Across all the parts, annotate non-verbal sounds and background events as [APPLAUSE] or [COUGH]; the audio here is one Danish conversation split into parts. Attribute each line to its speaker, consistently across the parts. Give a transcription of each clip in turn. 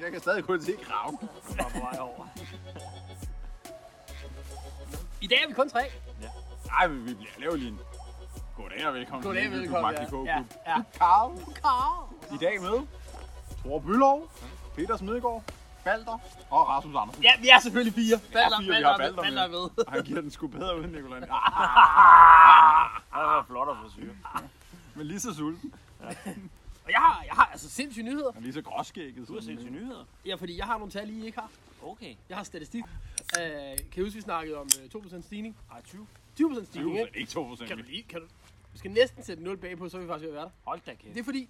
Speaker 1: Jeg kan stadig kun se kraven.
Speaker 2: var på vej over. I dag er vi kun tre.
Speaker 1: Nej, vi bliver lavet lige en goddag og velkommen.
Speaker 2: Goddag,
Speaker 1: til YouTube
Speaker 2: velkommen,
Speaker 1: Magdi
Speaker 2: ja.
Speaker 1: K.
Speaker 2: Ja, ja.
Speaker 1: Karl.
Speaker 2: Karl.
Speaker 1: I dag med Thor Bylov, Peter Smedegaard, Balder og Rasmus Andersen.
Speaker 2: Ja, vi er selvfølgelig fire. Balder,
Speaker 1: fire, vi har
Speaker 2: Balder,
Speaker 1: Balder
Speaker 2: Balder
Speaker 1: med.
Speaker 2: med.
Speaker 1: Og han giver den sgu bedre uden
Speaker 2: [LAUGHS]
Speaker 1: Nicolai. Ah,
Speaker 3: Han var flot og frisyr.
Speaker 1: men lige så sulten.
Speaker 2: Og jeg har, jeg har altså sindssyge nyheder.
Speaker 1: Og lige så gråskægget. øh,
Speaker 3: Du har set til nyheder.
Speaker 2: Ja, fordi jeg har nogle tal, I ikke har.
Speaker 3: Okay.
Speaker 2: Jeg har statistik. Øh, kan I huske, vi snakkede om øh, 2% stigning?
Speaker 3: Ej, 20.
Speaker 2: 20%
Speaker 1: Det
Speaker 2: stigning, ikke?
Speaker 1: ikke 2 procent.
Speaker 2: Kan du lige, kan du? Vi skal næsten sætte 0 bagpå, så er vi faktisk ved at være der.
Speaker 3: Hold da
Speaker 2: Det
Speaker 3: kæft.
Speaker 2: er fordi,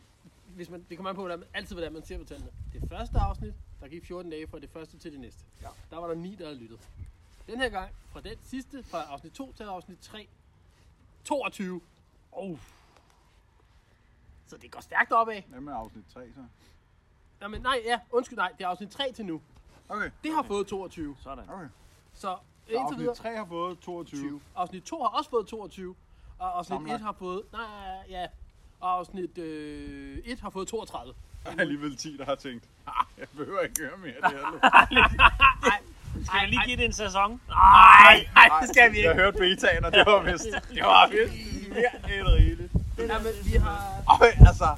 Speaker 2: hvis man, det kommer an på, hvordan, altid hvordan man ser på tallene. Det første afsnit, der gik 14 dage fra det første til det næste.
Speaker 3: Ja.
Speaker 2: Der var der 9, der havde lyttet. Den her gang, fra den sidste, fra afsnit 2 til afsnit 3, 22. Oh. Så det går stærkt opad.
Speaker 1: Hvad med afsnit 3 så?
Speaker 2: Nå, men nej, ja, undskyld, nej, det er afsnit 3 til nu.
Speaker 1: Okay.
Speaker 2: Det har fået 22.
Speaker 3: Sådan.
Speaker 1: Okay.
Speaker 2: Så,
Speaker 1: Så
Speaker 2: indtil videre,
Speaker 1: afsnit 3 har fået 22.
Speaker 2: 20. Afsnit 2 har også fået 22. Og afsnit
Speaker 1: Sammenlagt.
Speaker 2: 1 har fået... Nej, ja. Og afsnit øh, 1 har fået 32.
Speaker 1: Der er [LAUGHS] alligevel 10, der har tænkt, ah, jeg behøver ikke høre mere af det her. lort."
Speaker 3: Skal jeg lige give det en sæson?
Speaker 2: Nej, nej, det skal vi
Speaker 1: Jeg
Speaker 2: ikke.
Speaker 1: hørte betaen, og det var vist. Det var vist mere end rigeligt.
Speaker 2: Ja, men vi har,
Speaker 1: Øj, altså,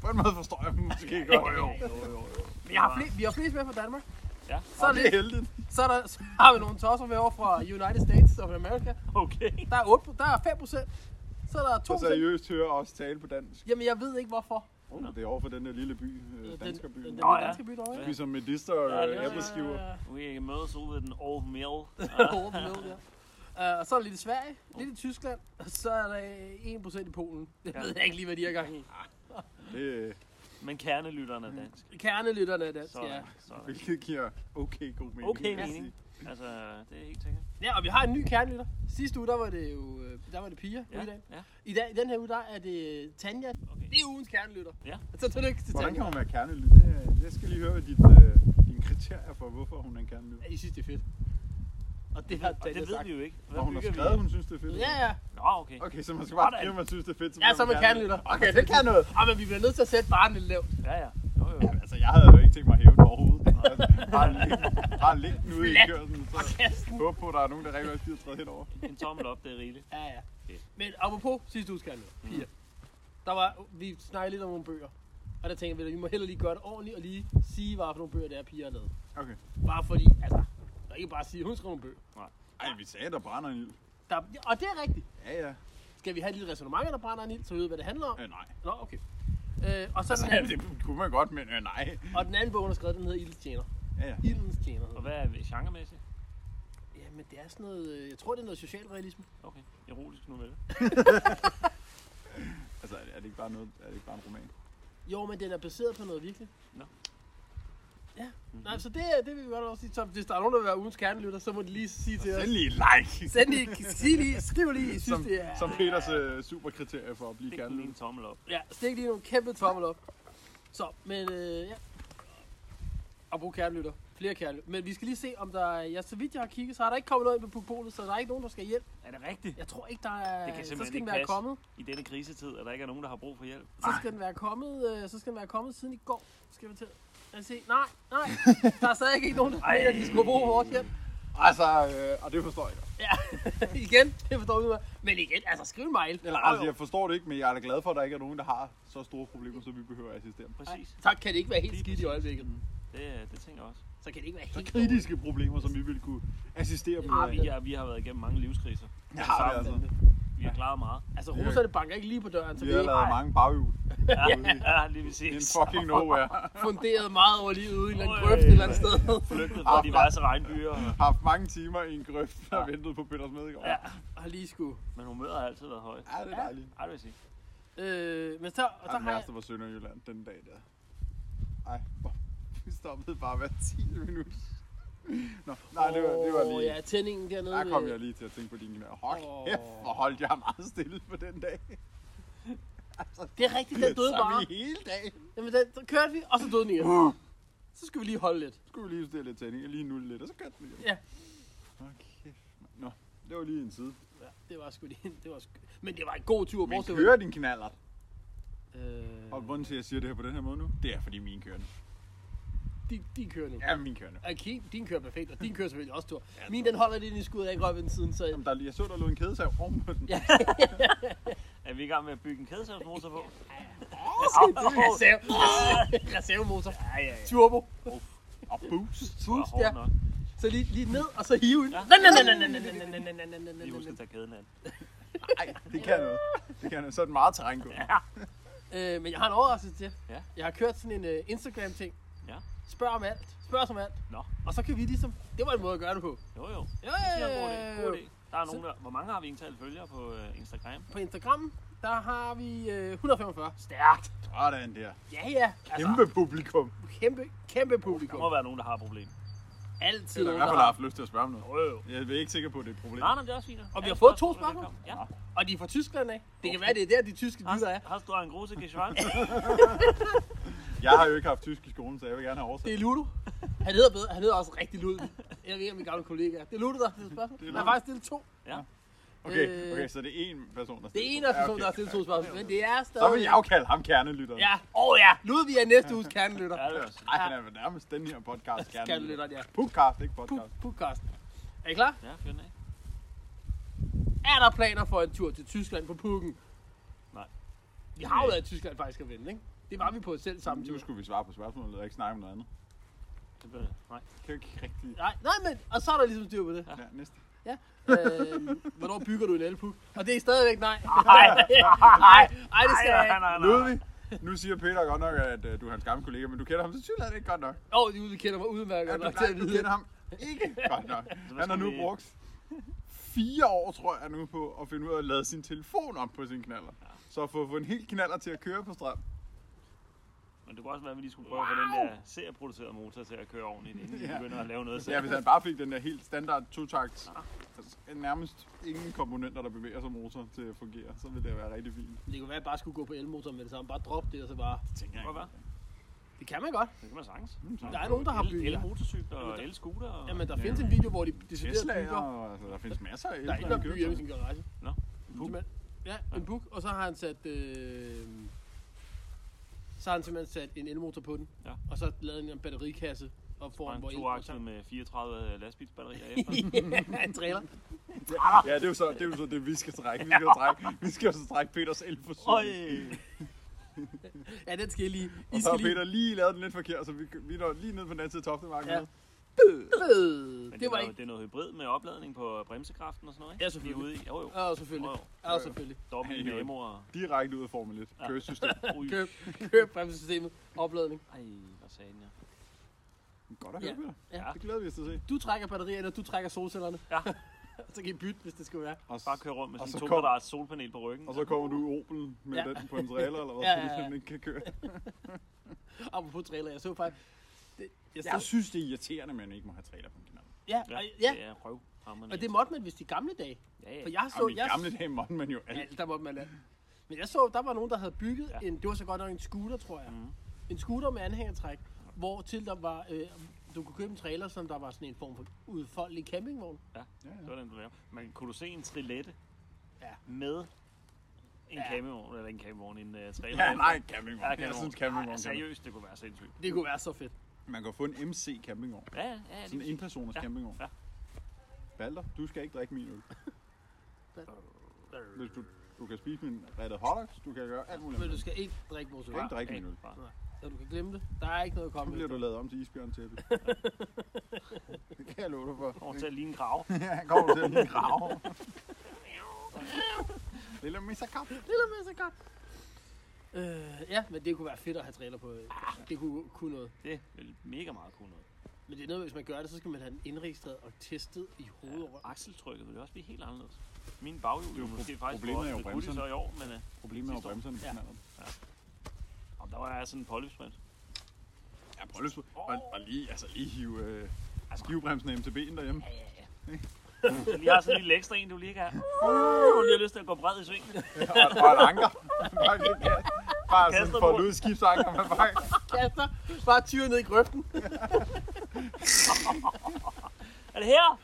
Speaker 1: på en måde forstår jeg dem måske ikke godt. Jo, jo, jo.
Speaker 2: vi har, flere, vi har flest med fra Danmark.
Speaker 3: Ja.
Speaker 2: Så, er
Speaker 1: Det er
Speaker 2: [LAUGHS] det,
Speaker 1: heldigt.
Speaker 2: så, er der, så har vi nogle tosser med over fra United States of America.
Speaker 3: Okay.
Speaker 2: Der er, 8, der er 5 procent. Så er der 2
Speaker 1: Og
Speaker 2: procent.
Speaker 1: seriøst hører også tale på dansk.
Speaker 2: Jamen, jeg ved ikke hvorfor.
Speaker 1: Oh, det er over for den der lille by, øh,
Speaker 2: Den,
Speaker 1: danskerby.
Speaker 2: den, den,
Speaker 3: Nå, ja.
Speaker 2: danske by derovre.
Speaker 1: Vi som medister og
Speaker 3: Ja, det
Speaker 1: øh,
Speaker 3: er-
Speaker 1: æbleskiver.
Speaker 3: Vi mødes ude ved den old mill.
Speaker 2: Over på noget der. Øh, og så er der lidt i Sverige, lidt i Tyskland, og så er der øh, 1% i Polen. Det
Speaker 3: Ja.
Speaker 2: ved jeg ikke lige, hvad de har gang i.
Speaker 1: Det, øh,
Speaker 3: Men kernelytterne er dansk.
Speaker 2: Kernelytterne er dansk, ja.
Speaker 3: Sådan. Sådan.
Speaker 1: hvilket giver okay god mening.
Speaker 3: Okay
Speaker 1: vil jeg
Speaker 3: mening.
Speaker 1: sige.
Speaker 3: Altså, det er helt sikkert.
Speaker 2: Ja, og vi har en ny kernelytter. Sidste uge, der var det jo øh, der var det piger ja. i dag.
Speaker 3: ja.
Speaker 2: I dag, i den her uge, der er det øh, Tanja.
Speaker 3: Okay.
Speaker 2: Det er ugens kernelytter.
Speaker 3: Ja.
Speaker 2: Så tillykke til
Speaker 1: Hvordan
Speaker 2: Tanja.
Speaker 1: kan hun være kernelyd? Det, jeg skal lige høre hvad dit, øh, dine kriterier for, hvorfor hun er en kernelyd.
Speaker 2: Ja, I synes, det er fedt. Og det har
Speaker 3: Og
Speaker 2: Tanja
Speaker 3: det ved
Speaker 2: sagt.
Speaker 3: vi jo ikke. Hvad
Speaker 1: Og hun har
Speaker 3: bygger vi?
Speaker 1: skrevet, hun synes, det er fedt.
Speaker 2: Ja, ja.
Speaker 3: Nå, okay.
Speaker 1: Okay, så man skal bare
Speaker 3: Sådan.
Speaker 1: skrive, om man synes, det er fedt.
Speaker 2: Ja,
Speaker 1: bliver
Speaker 2: så er man kernelytter. Okay, det kan noget. Ah, men vi bliver nødt til at sætte barnet lidt lavt.
Speaker 3: Ja, ja. Jo, jo.
Speaker 1: Jamen, Altså, jeg havde jo ikke tænkt mig at hæve den overhovedet. Altså, bare læg- Bare læg den ude i
Speaker 2: Flat.
Speaker 1: kørselen, så
Speaker 2: Kasten.
Speaker 1: håber på, at der er nogen, der rent faktisk gider træde henover.
Speaker 3: En tommel op, det er rigeligt.
Speaker 2: Ja, ja. Mm.
Speaker 3: Fedt.
Speaker 2: Men apropos sidste uges kernelytter. Piger. Der var, vi snakkede lidt om nogle bøger. Og der tænkte vi, at vi må hellere lige gøre det ordentligt og lige sige, hvad for nogle bøger det er, piger har lavet.
Speaker 1: Okay.
Speaker 2: Bare fordi, altså, der er ikke bare at sige, hun skrev nogle bøger.
Speaker 1: Ej, vi sagde, at der brænder en ild.
Speaker 2: Der, og det er rigtigt.
Speaker 1: Ja, ja.
Speaker 2: Skal vi have et lille resonemang, der brænder en ild, så vi ved, hvad det handler om?
Speaker 1: Øh, nej. [LAUGHS]
Speaker 2: Nå, okay. Øh, og så
Speaker 1: Altså,
Speaker 2: den anden,
Speaker 1: det kunne man godt, men øh, nej.
Speaker 2: og den anden bog, hun har skrevet, den hedder Ildens Tjener.
Speaker 1: Ja, ja.
Speaker 2: Ildens Tjener.
Speaker 3: Og
Speaker 2: hedder den.
Speaker 3: hvad er vi- genremæssigt?
Speaker 2: Jamen, det er sådan noget, øh, jeg tror, det er noget socialrealisme.
Speaker 3: Okay. Erotisk novelle.
Speaker 1: Altså, er det ikke bare, noget, er det ikke bare en roman?
Speaker 2: Jo, men den er baseret på noget virkeligt.
Speaker 3: Nå.
Speaker 2: Ja, nej, så det, det vil vi godt også sige. Så hvis der er nogen, der vil være ugens kernelytter, så må de lige sige til os.
Speaker 1: Send lige et like,
Speaker 2: Send lige, sig lige, skriv lige, I synes,
Speaker 1: som,
Speaker 2: det er...
Speaker 1: som Peters øh, superkriterie for at blive
Speaker 3: Det er lige
Speaker 1: kernelyd.
Speaker 3: en tommel op.
Speaker 2: Ja, stik lige nogle kæmpe tommel op. Så, men øh, ja. Og brug kernelytter. Flere kernelytter. Men vi skal lige se, om der er... Ja, så vidt jeg har kigget, så har der ikke kommet noget ind på polet, så der er ikke nogen, der skal hjem.
Speaker 3: Er det rigtigt?
Speaker 2: Jeg tror ikke, der er...
Speaker 3: Det kan
Speaker 2: Øh, så
Speaker 3: simpelthen
Speaker 2: skal den
Speaker 3: ikke
Speaker 2: være
Speaker 3: passe.
Speaker 2: kommet.
Speaker 3: I denne krisetid, at der ikke er nogen, der har brug for hjælp.
Speaker 2: Så skal den være kommet, øh, så skal den være kommet siden i går. Skal vi til... Lad os se. Nej, nej. Der er stadig ikke nogen, der mener, at de skulle bruge hårdt hjem.
Speaker 1: Altså, øh, og det forstår jeg godt.
Speaker 2: Ja, [LAUGHS] igen. Det forstår vi mig. Men igen, altså skriv en mail.
Speaker 1: Eller,
Speaker 2: Jo, jo.
Speaker 1: altså, jeg forstår det ikke, men jeg er da glad for, at der ikke er nogen, der har så store problemer, så vi behøver at assistere dem.
Speaker 3: Præcis.
Speaker 2: Så kan det ikke være helt
Speaker 3: Lige
Speaker 2: skidt i
Speaker 3: præcis.
Speaker 2: øjeblikket.
Speaker 3: Det, det tænker jeg også.
Speaker 2: Så kan det ikke være
Speaker 1: Så
Speaker 2: helt
Speaker 1: kritiske problemer, som vi ville kunne assistere dem
Speaker 2: Ah,
Speaker 1: med.
Speaker 3: Vi, ja, vi har været igennem mange livskriser.
Speaker 1: Ja, det er altså.
Speaker 3: Vi har klaret meget.
Speaker 2: Altså, russerne banker ikke lige på døren, så
Speaker 1: Vi
Speaker 2: vi
Speaker 1: har
Speaker 2: ikke
Speaker 1: lavet
Speaker 2: har
Speaker 1: mange
Speaker 2: [LAUGHS]
Speaker 1: baghjul.
Speaker 3: Ja, lige præcis.
Speaker 1: In fucking nowhere.
Speaker 2: funderet meget over livet ude i en eller anden
Speaker 3: Øj.
Speaker 2: grøft et eller andet sted. [LAUGHS]
Speaker 3: Flygtet
Speaker 1: Ah,
Speaker 3: fra diverse regnbyer.
Speaker 1: haft mange timer i en grøft og ventet på Peter Smedegaard.
Speaker 3: Ja.
Speaker 1: Ja.
Speaker 2: Og lige skulle.
Speaker 3: Men humøret har altid været højt.
Speaker 1: ja, det er dejligt.
Speaker 3: Ej, det vil jeg sige.
Speaker 2: Øh, men så, og
Speaker 1: Og
Speaker 2: så
Speaker 1: den
Speaker 2: har jeg...
Speaker 1: værste var Sønderjylland den dag der. Ej, hvor- [LAUGHS] vi stoppede bare hver 10 minutter. Nå, nej, det var, det var
Speaker 2: Åh,
Speaker 1: lige...
Speaker 2: Ja, tændingen dernede.
Speaker 1: Der kom
Speaker 2: ved-
Speaker 1: jeg lige til at tænke på din knæ. Hold
Speaker 2: Åh. [LAUGHS]
Speaker 1: kæft, hvor holdt jeg meget stille på den dag.
Speaker 2: Det er rigtigt, den døde
Speaker 1: Så
Speaker 2: bare.
Speaker 1: vi hele dagen.
Speaker 2: Jamen, den, så kørte vi, og så døde den igen.
Speaker 1: Uh,
Speaker 2: Så skal vi lige holde lidt.
Speaker 1: så skulle vi lige justere lidt tænding, og lige nu lidt, og så kørte vi.
Speaker 2: Ja.
Speaker 1: Okay. Nå, det var lige en side.
Speaker 2: Ja, det var sgu lige, det var sgu... Men det var en god tur.
Speaker 1: Men
Speaker 2: bortset-
Speaker 1: kører din knaller.
Speaker 2: Øh,
Speaker 1: Og grunden til, at jeg siger det her på den her måde nu, det er fordi min kører nu.
Speaker 2: din, din kører nu.
Speaker 1: Ja, min kører nu.
Speaker 2: Okay, din kører perfekt, og din kører selvfølgelig også tur. Min, den holder lidt ind i skuddet, jeg ikke røg ved den siden, så...
Speaker 1: Jamen, der, er lige- jeg så, der lå en kædesav oven på den.
Speaker 2: Ja.
Speaker 3: Er vi i gang med at bygge en kædesavsmotor
Speaker 2: [LAUGHS]
Speaker 3: på?
Speaker 2: Reserve, reservemotor.
Speaker 3: Ja, ja, ja.
Speaker 2: Turbo.
Speaker 1: Og boost.
Speaker 2: Boost,
Speaker 3: Det var
Speaker 2: ja.
Speaker 3: hårdt nok.
Speaker 2: Så lige, lige ned, og så hive den.
Speaker 3: Ja.
Speaker 2: Nej, nej, nej, nej, nej, nej, nej, nej, nej, nej, nej, nej,
Speaker 3: Lige husk at
Speaker 2: nej,
Speaker 3: tage kæden af.
Speaker 1: Nej, det kan noget. Det kan noget. Så er det meget terræn gået.
Speaker 2: nej. Øh, Men jeg har en overraskelse til.
Speaker 3: Ja.
Speaker 2: Jeg har kørt sådan en øh, Instagram-ting.
Speaker 3: Ja.
Speaker 2: Spørg om alt. Spørg os om alt.
Speaker 3: Nå.
Speaker 2: Og så kan vi ligesom... Det var en måde at gøre det på.
Speaker 3: Jo, jo.
Speaker 2: Jo,
Speaker 3: Det siger en god idé.
Speaker 2: jo,
Speaker 3: God
Speaker 2: jo.
Speaker 3: idé. Der er nogen der... Hvor mange har vi egentlig følgere på øh, Instagram?
Speaker 2: På Instagram, der har vi øh, 145.
Speaker 3: Stærkt!
Speaker 1: Sådan der.
Speaker 2: Ja, ja.
Speaker 1: Kæmpe publikum.
Speaker 2: Kæmpe, kæmpe
Speaker 3: Der
Speaker 2: publikum.
Speaker 3: må være nogen, der har et problem.
Speaker 2: Altid
Speaker 1: Eller i
Speaker 2: nogen,
Speaker 1: hvert
Speaker 2: der
Speaker 1: fald har
Speaker 2: har.
Speaker 1: haft lyst til at spørge om noget.
Speaker 3: Jo, jo.
Speaker 1: Jeg er ikke sikker på, at det er et problem.
Speaker 3: Nej, nej, det er også fint.
Speaker 2: Og vi har
Speaker 3: Ja,
Speaker 2: fået to
Speaker 3: spørgsmål,
Speaker 2: spørgsmål.
Speaker 3: velkommen. Ja.
Speaker 2: Og de er fra Tyskland af. Det kan være, det er der, de tyske dyder er.
Speaker 3: Hast, hast du en große [LAUGHS] Geschwanz?
Speaker 1: Jeg har jo ikke haft tysk i skolen, så jeg vil gerne have
Speaker 2: Det
Speaker 1: oversat.
Speaker 2: er Ludo. Han hedder, bedre, han hedder også rigtig Ludo. Jeg ved ikke, om min gamle kollega. er. Det er Ludo, der har stillet spørgsmål.
Speaker 1: Det er
Speaker 2: Han har
Speaker 1: Ludo.
Speaker 2: faktisk stillet to.
Speaker 1: Okay,
Speaker 2: Øh.
Speaker 1: okay, så det er én person, der
Speaker 2: Det er en af personen, der har stillet to spørgsmål. Men det er stadig...
Speaker 1: Så vil jeg jo kalde ham kernelytteren.
Speaker 2: Ja. Åh oh, ja. Ludvig er næste uges kernelytter.
Speaker 3: ja, det er også.
Speaker 1: Ej, han er vel nærmest den her podcast kernelytter.
Speaker 2: [LAUGHS] Kernelytteren, ja.
Speaker 1: Podcast, ikke podcast.
Speaker 2: Pu- Podcast. Er I klar?
Speaker 3: Ja, fyr den af.
Speaker 2: Er der planer for en tur til Tyskland på pukken?
Speaker 3: Nej.
Speaker 2: Vi har jo været i Tyskland faktisk at vende, ikke? Det var vi på selv samme tur.
Speaker 1: Nu skulle vi svare på spørgsmålet og ikke snakke om noget andet.
Speaker 3: Det bliver det. Nej.
Speaker 1: Det kan jo ikke rigtig...
Speaker 2: Nej, nej, men... Og så er der ligesom styr på det.
Speaker 1: Ja, næste.
Speaker 2: øh, hvornår bygger du en elpuk? Og det er stadigvæk nej. [LAUGHS] Nej, nej, nej, det skal jeg
Speaker 3: Nej,
Speaker 2: ikke.
Speaker 3: nej, nej.
Speaker 1: Ludvig, nu siger Peter godt nok, at øh, du er hans gamle kollega, men du kender ham så tydeligt ikke godt nok.
Speaker 2: Åh, oh, de kender mig udmærket
Speaker 1: Ja,
Speaker 2: godt
Speaker 1: du,
Speaker 2: nok til
Speaker 1: nej,
Speaker 2: at
Speaker 1: du
Speaker 2: vide.
Speaker 1: kender ham ikke godt
Speaker 2: [LAUGHS]
Speaker 1: nok.
Speaker 3: hvad
Speaker 1: Han har
Speaker 3: skal
Speaker 1: nu
Speaker 3: vi-
Speaker 1: brugt fire år, tror jeg nu, på at finde ud af at lade sin telefon op på sin knaller. Så at få, få en helt knaller til at køre på strøm.
Speaker 3: Men det kunne også være, at vi lige skulle prøve at få den der serieproducerede motor til at køre ordentligt, inden vi
Speaker 1: Ja.
Speaker 3: begynder at lave noget selv.
Speaker 1: Ja, hvis han bare fik den der helt standard to-takt, altså, nærmest ingen komponenter, der bevæger sig motor til at fungere, så ville det være rigtig fint.
Speaker 2: Det kunne være, at jeg bare skulle gå på elmotor med det samme. Bare droppe det, og så bare...
Speaker 1: Tænker
Speaker 3: Prøv at være.
Speaker 2: Det kan man godt.
Speaker 3: Det kan man sagtens.
Speaker 2: Mm, Der er nogen, der har
Speaker 3: El-
Speaker 2: bygget.
Speaker 3: El-motorcykler
Speaker 2: Jamen,
Speaker 3: og
Speaker 2: der-
Speaker 3: el-scooter. Og...
Speaker 2: Jamen, der findes en video, hvor de decideret
Speaker 1: Tesla,
Speaker 2: bygger.
Speaker 1: og, altså, der findes masser af
Speaker 2: Der er en, der bygger hjemme i sin garage.
Speaker 3: Nå, en buk.
Speaker 2: Simpelthen. Ja, en buk. Og så har han sat... Øh... Så har han simpelthen sat en elmotor på den.
Speaker 3: Ja.
Speaker 2: Og så lavet en batterikasse op
Speaker 3: Og
Speaker 2: foran,
Speaker 3: en
Speaker 2: hvor el
Speaker 3: toakset med 34
Speaker 2: [LAUGHS]
Speaker 3: lastbilsbatterier efter.
Speaker 2: Ja, en trailer.
Speaker 1: Ja, det er, jo så, det er jo så det, vi skal trække. Vi skal, trække, vi skal jo så trække Peters elforsyning.
Speaker 3: Øj!
Speaker 2: Ja, den skal I lige.
Speaker 1: Og
Speaker 2: I
Speaker 1: så har
Speaker 2: skal lige.
Speaker 1: Peter lige lavet den lidt forkert, så vi, vi når lige ned på den anden side af Toftemarken.
Speaker 2: Ja.
Speaker 1: Ja.
Speaker 2: Øh, Det
Speaker 3: Men
Speaker 2: var
Speaker 3: noget-
Speaker 2: ikke...
Speaker 3: det er noget hybrid med opladning på bremsekraften og sådan noget, ikke?
Speaker 2: Ja, selvfølgelig.
Speaker 3: Vi er ude i. Jo, jo.
Speaker 2: Ja, selvfølgelig.
Speaker 3: Jo, jo.
Speaker 2: Ja, selvfølgelig.
Speaker 3: Dobbelt
Speaker 1: Ja, jo.
Speaker 3: dynamo
Speaker 2: [LAUGHS]
Speaker 3: og...
Speaker 1: Direkte ud af Formel 1.
Speaker 3: Ja.
Speaker 1: Køresystem.
Speaker 3: Ui.
Speaker 2: Køb, køb bremsesystemet. Opladning.
Speaker 3: Ej, hvad sagde den, ja.
Speaker 1: Godt at høre,
Speaker 2: Ja.
Speaker 1: Peter.
Speaker 2: Ja.
Speaker 1: Det glæder vi os til at se.
Speaker 2: Du trækker batterierne, og du trækker solcellerne.
Speaker 3: Ja.
Speaker 2: [LAUGHS] så kan I bytte, hvis det skulle være.
Speaker 1: Og,
Speaker 3: Bare køre rundt med
Speaker 1: Og
Speaker 3: sådan
Speaker 1: så
Speaker 3: en
Speaker 1: kom-
Speaker 3: to solpanel på ryggen.
Speaker 1: og så kommer du i Opel med
Speaker 2: Ja.
Speaker 1: den på en trailer, eller hvad,
Speaker 2: [LAUGHS] Ja,
Speaker 1: ja,
Speaker 2: ja,
Speaker 1: så
Speaker 2: ja.
Speaker 1: du simpelthen ikke kan køre.
Speaker 2: Apropos trailer, jeg så faktisk... Det, jeg så,
Speaker 1: Jeg synes, det er irriterende, at man ikke må have trailer på en knap.
Speaker 2: ja,
Speaker 3: Ja,
Speaker 2: og, ja,
Speaker 3: det er røv.
Speaker 2: og det måtte man vist i gamle dage.
Speaker 3: Ja, ja.
Speaker 2: For jeg så...
Speaker 1: Og i
Speaker 2: jeg,
Speaker 1: gamle dage måtte man jo alt.
Speaker 2: Ja, der måtte man alt. Men jeg så, der var nogen, der havde bygget
Speaker 3: Ja.
Speaker 2: ja. en... Det var så godt nok en scooter, tror jeg.
Speaker 3: Mhm.
Speaker 2: Mm. En scooter med anhængertræk, hvor til der var... Øh, du kunne købe en trailer, som der var sådan en form for udfoldelig campingvogn.
Speaker 1: Ja,
Speaker 3: Det
Speaker 1: ja.
Speaker 3: var den, du lavede. Men kunne du se en trilette
Speaker 2: Ja.
Speaker 3: med en
Speaker 2: Ja.
Speaker 3: campingvogn, eller en campingvogn, en uh, trailer?
Speaker 1: Ja, nej, campingvogn.
Speaker 3: Ja,
Speaker 1: jeg synes,
Speaker 3: Ej,
Speaker 1: campingvogn. kan-
Speaker 3: seriøst, det kunne være sindssygt.
Speaker 2: Det kunne være så fedt.
Speaker 1: Man kan få en MC campingvogn.
Speaker 3: Ja, ja, ja.
Speaker 1: Sådan en enpersoners
Speaker 3: Ja.
Speaker 1: campingvogn.
Speaker 3: Ja.
Speaker 1: Balder, du skal ikke drikke min øl. Hvis du, du kan spise min rettede hotdogs, du kan gøre alt muligt.
Speaker 2: Men
Speaker 1: andet.
Speaker 2: du skal ikke drikke vores
Speaker 1: Du
Speaker 2: øl.
Speaker 1: kan ikke drikke min øl.
Speaker 2: Nej, Så du kan glemme det. Der er ikke noget at
Speaker 1: Nu
Speaker 2: komme
Speaker 1: bliver
Speaker 2: efter.
Speaker 1: du lavet om til isbjørn til det. det kan jeg love dig for.
Speaker 3: Kommer til at ligne en grav.
Speaker 1: [LAUGHS] Ja, han kommer til min grav. [LAUGHS] Lille Mr. Kap.
Speaker 2: Lille med så godt. Øh, ja, men det kunne være fedt at have trailer på. øh, Det kunne, kunne noget.
Speaker 3: Det vil mega meget kunne noget.
Speaker 2: Men det er noget, hvis man gør det, så skal man have den indregistreret og testet i hovedet. og
Speaker 3: Ah.
Speaker 2: røven.
Speaker 3: Akseltrykket ville også blive helt anderledes. Min baghjul
Speaker 1: jo
Speaker 3: jo måske
Speaker 1: pro-
Speaker 3: faktisk
Speaker 1: problemet
Speaker 3: også
Speaker 1: er jo
Speaker 3: lidt guttig
Speaker 1: bremserne.
Speaker 3: så i år, men uh,
Speaker 1: Problemet er jo
Speaker 3: Sidste år.
Speaker 1: bremserne på
Speaker 2: Ja.
Speaker 1: knalderen.
Speaker 3: om der var sådan en polysprint.
Speaker 1: Ja,
Speaker 3: Altså.
Speaker 1: prøv lige, og, og lige, altså lige hive øh, skivebremsen af MTB'en derhjemme.
Speaker 3: Ja, ja, ja. Du lige har sådan en lille ekstra en, du lige kan have. Uh, lige har lyst til at gå bred i svingen.
Speaker 1: Og, og et anker. Bare, lidt gas. bare sådan
Speaker 3: Kaster
Speaker 1: for
Speaker 3: mod.
Speaker 1: at lyde skibsanker. Man bare...
Speaker 2: Kaster bare tyret ned i grøften.
Speaker 3: Er det her?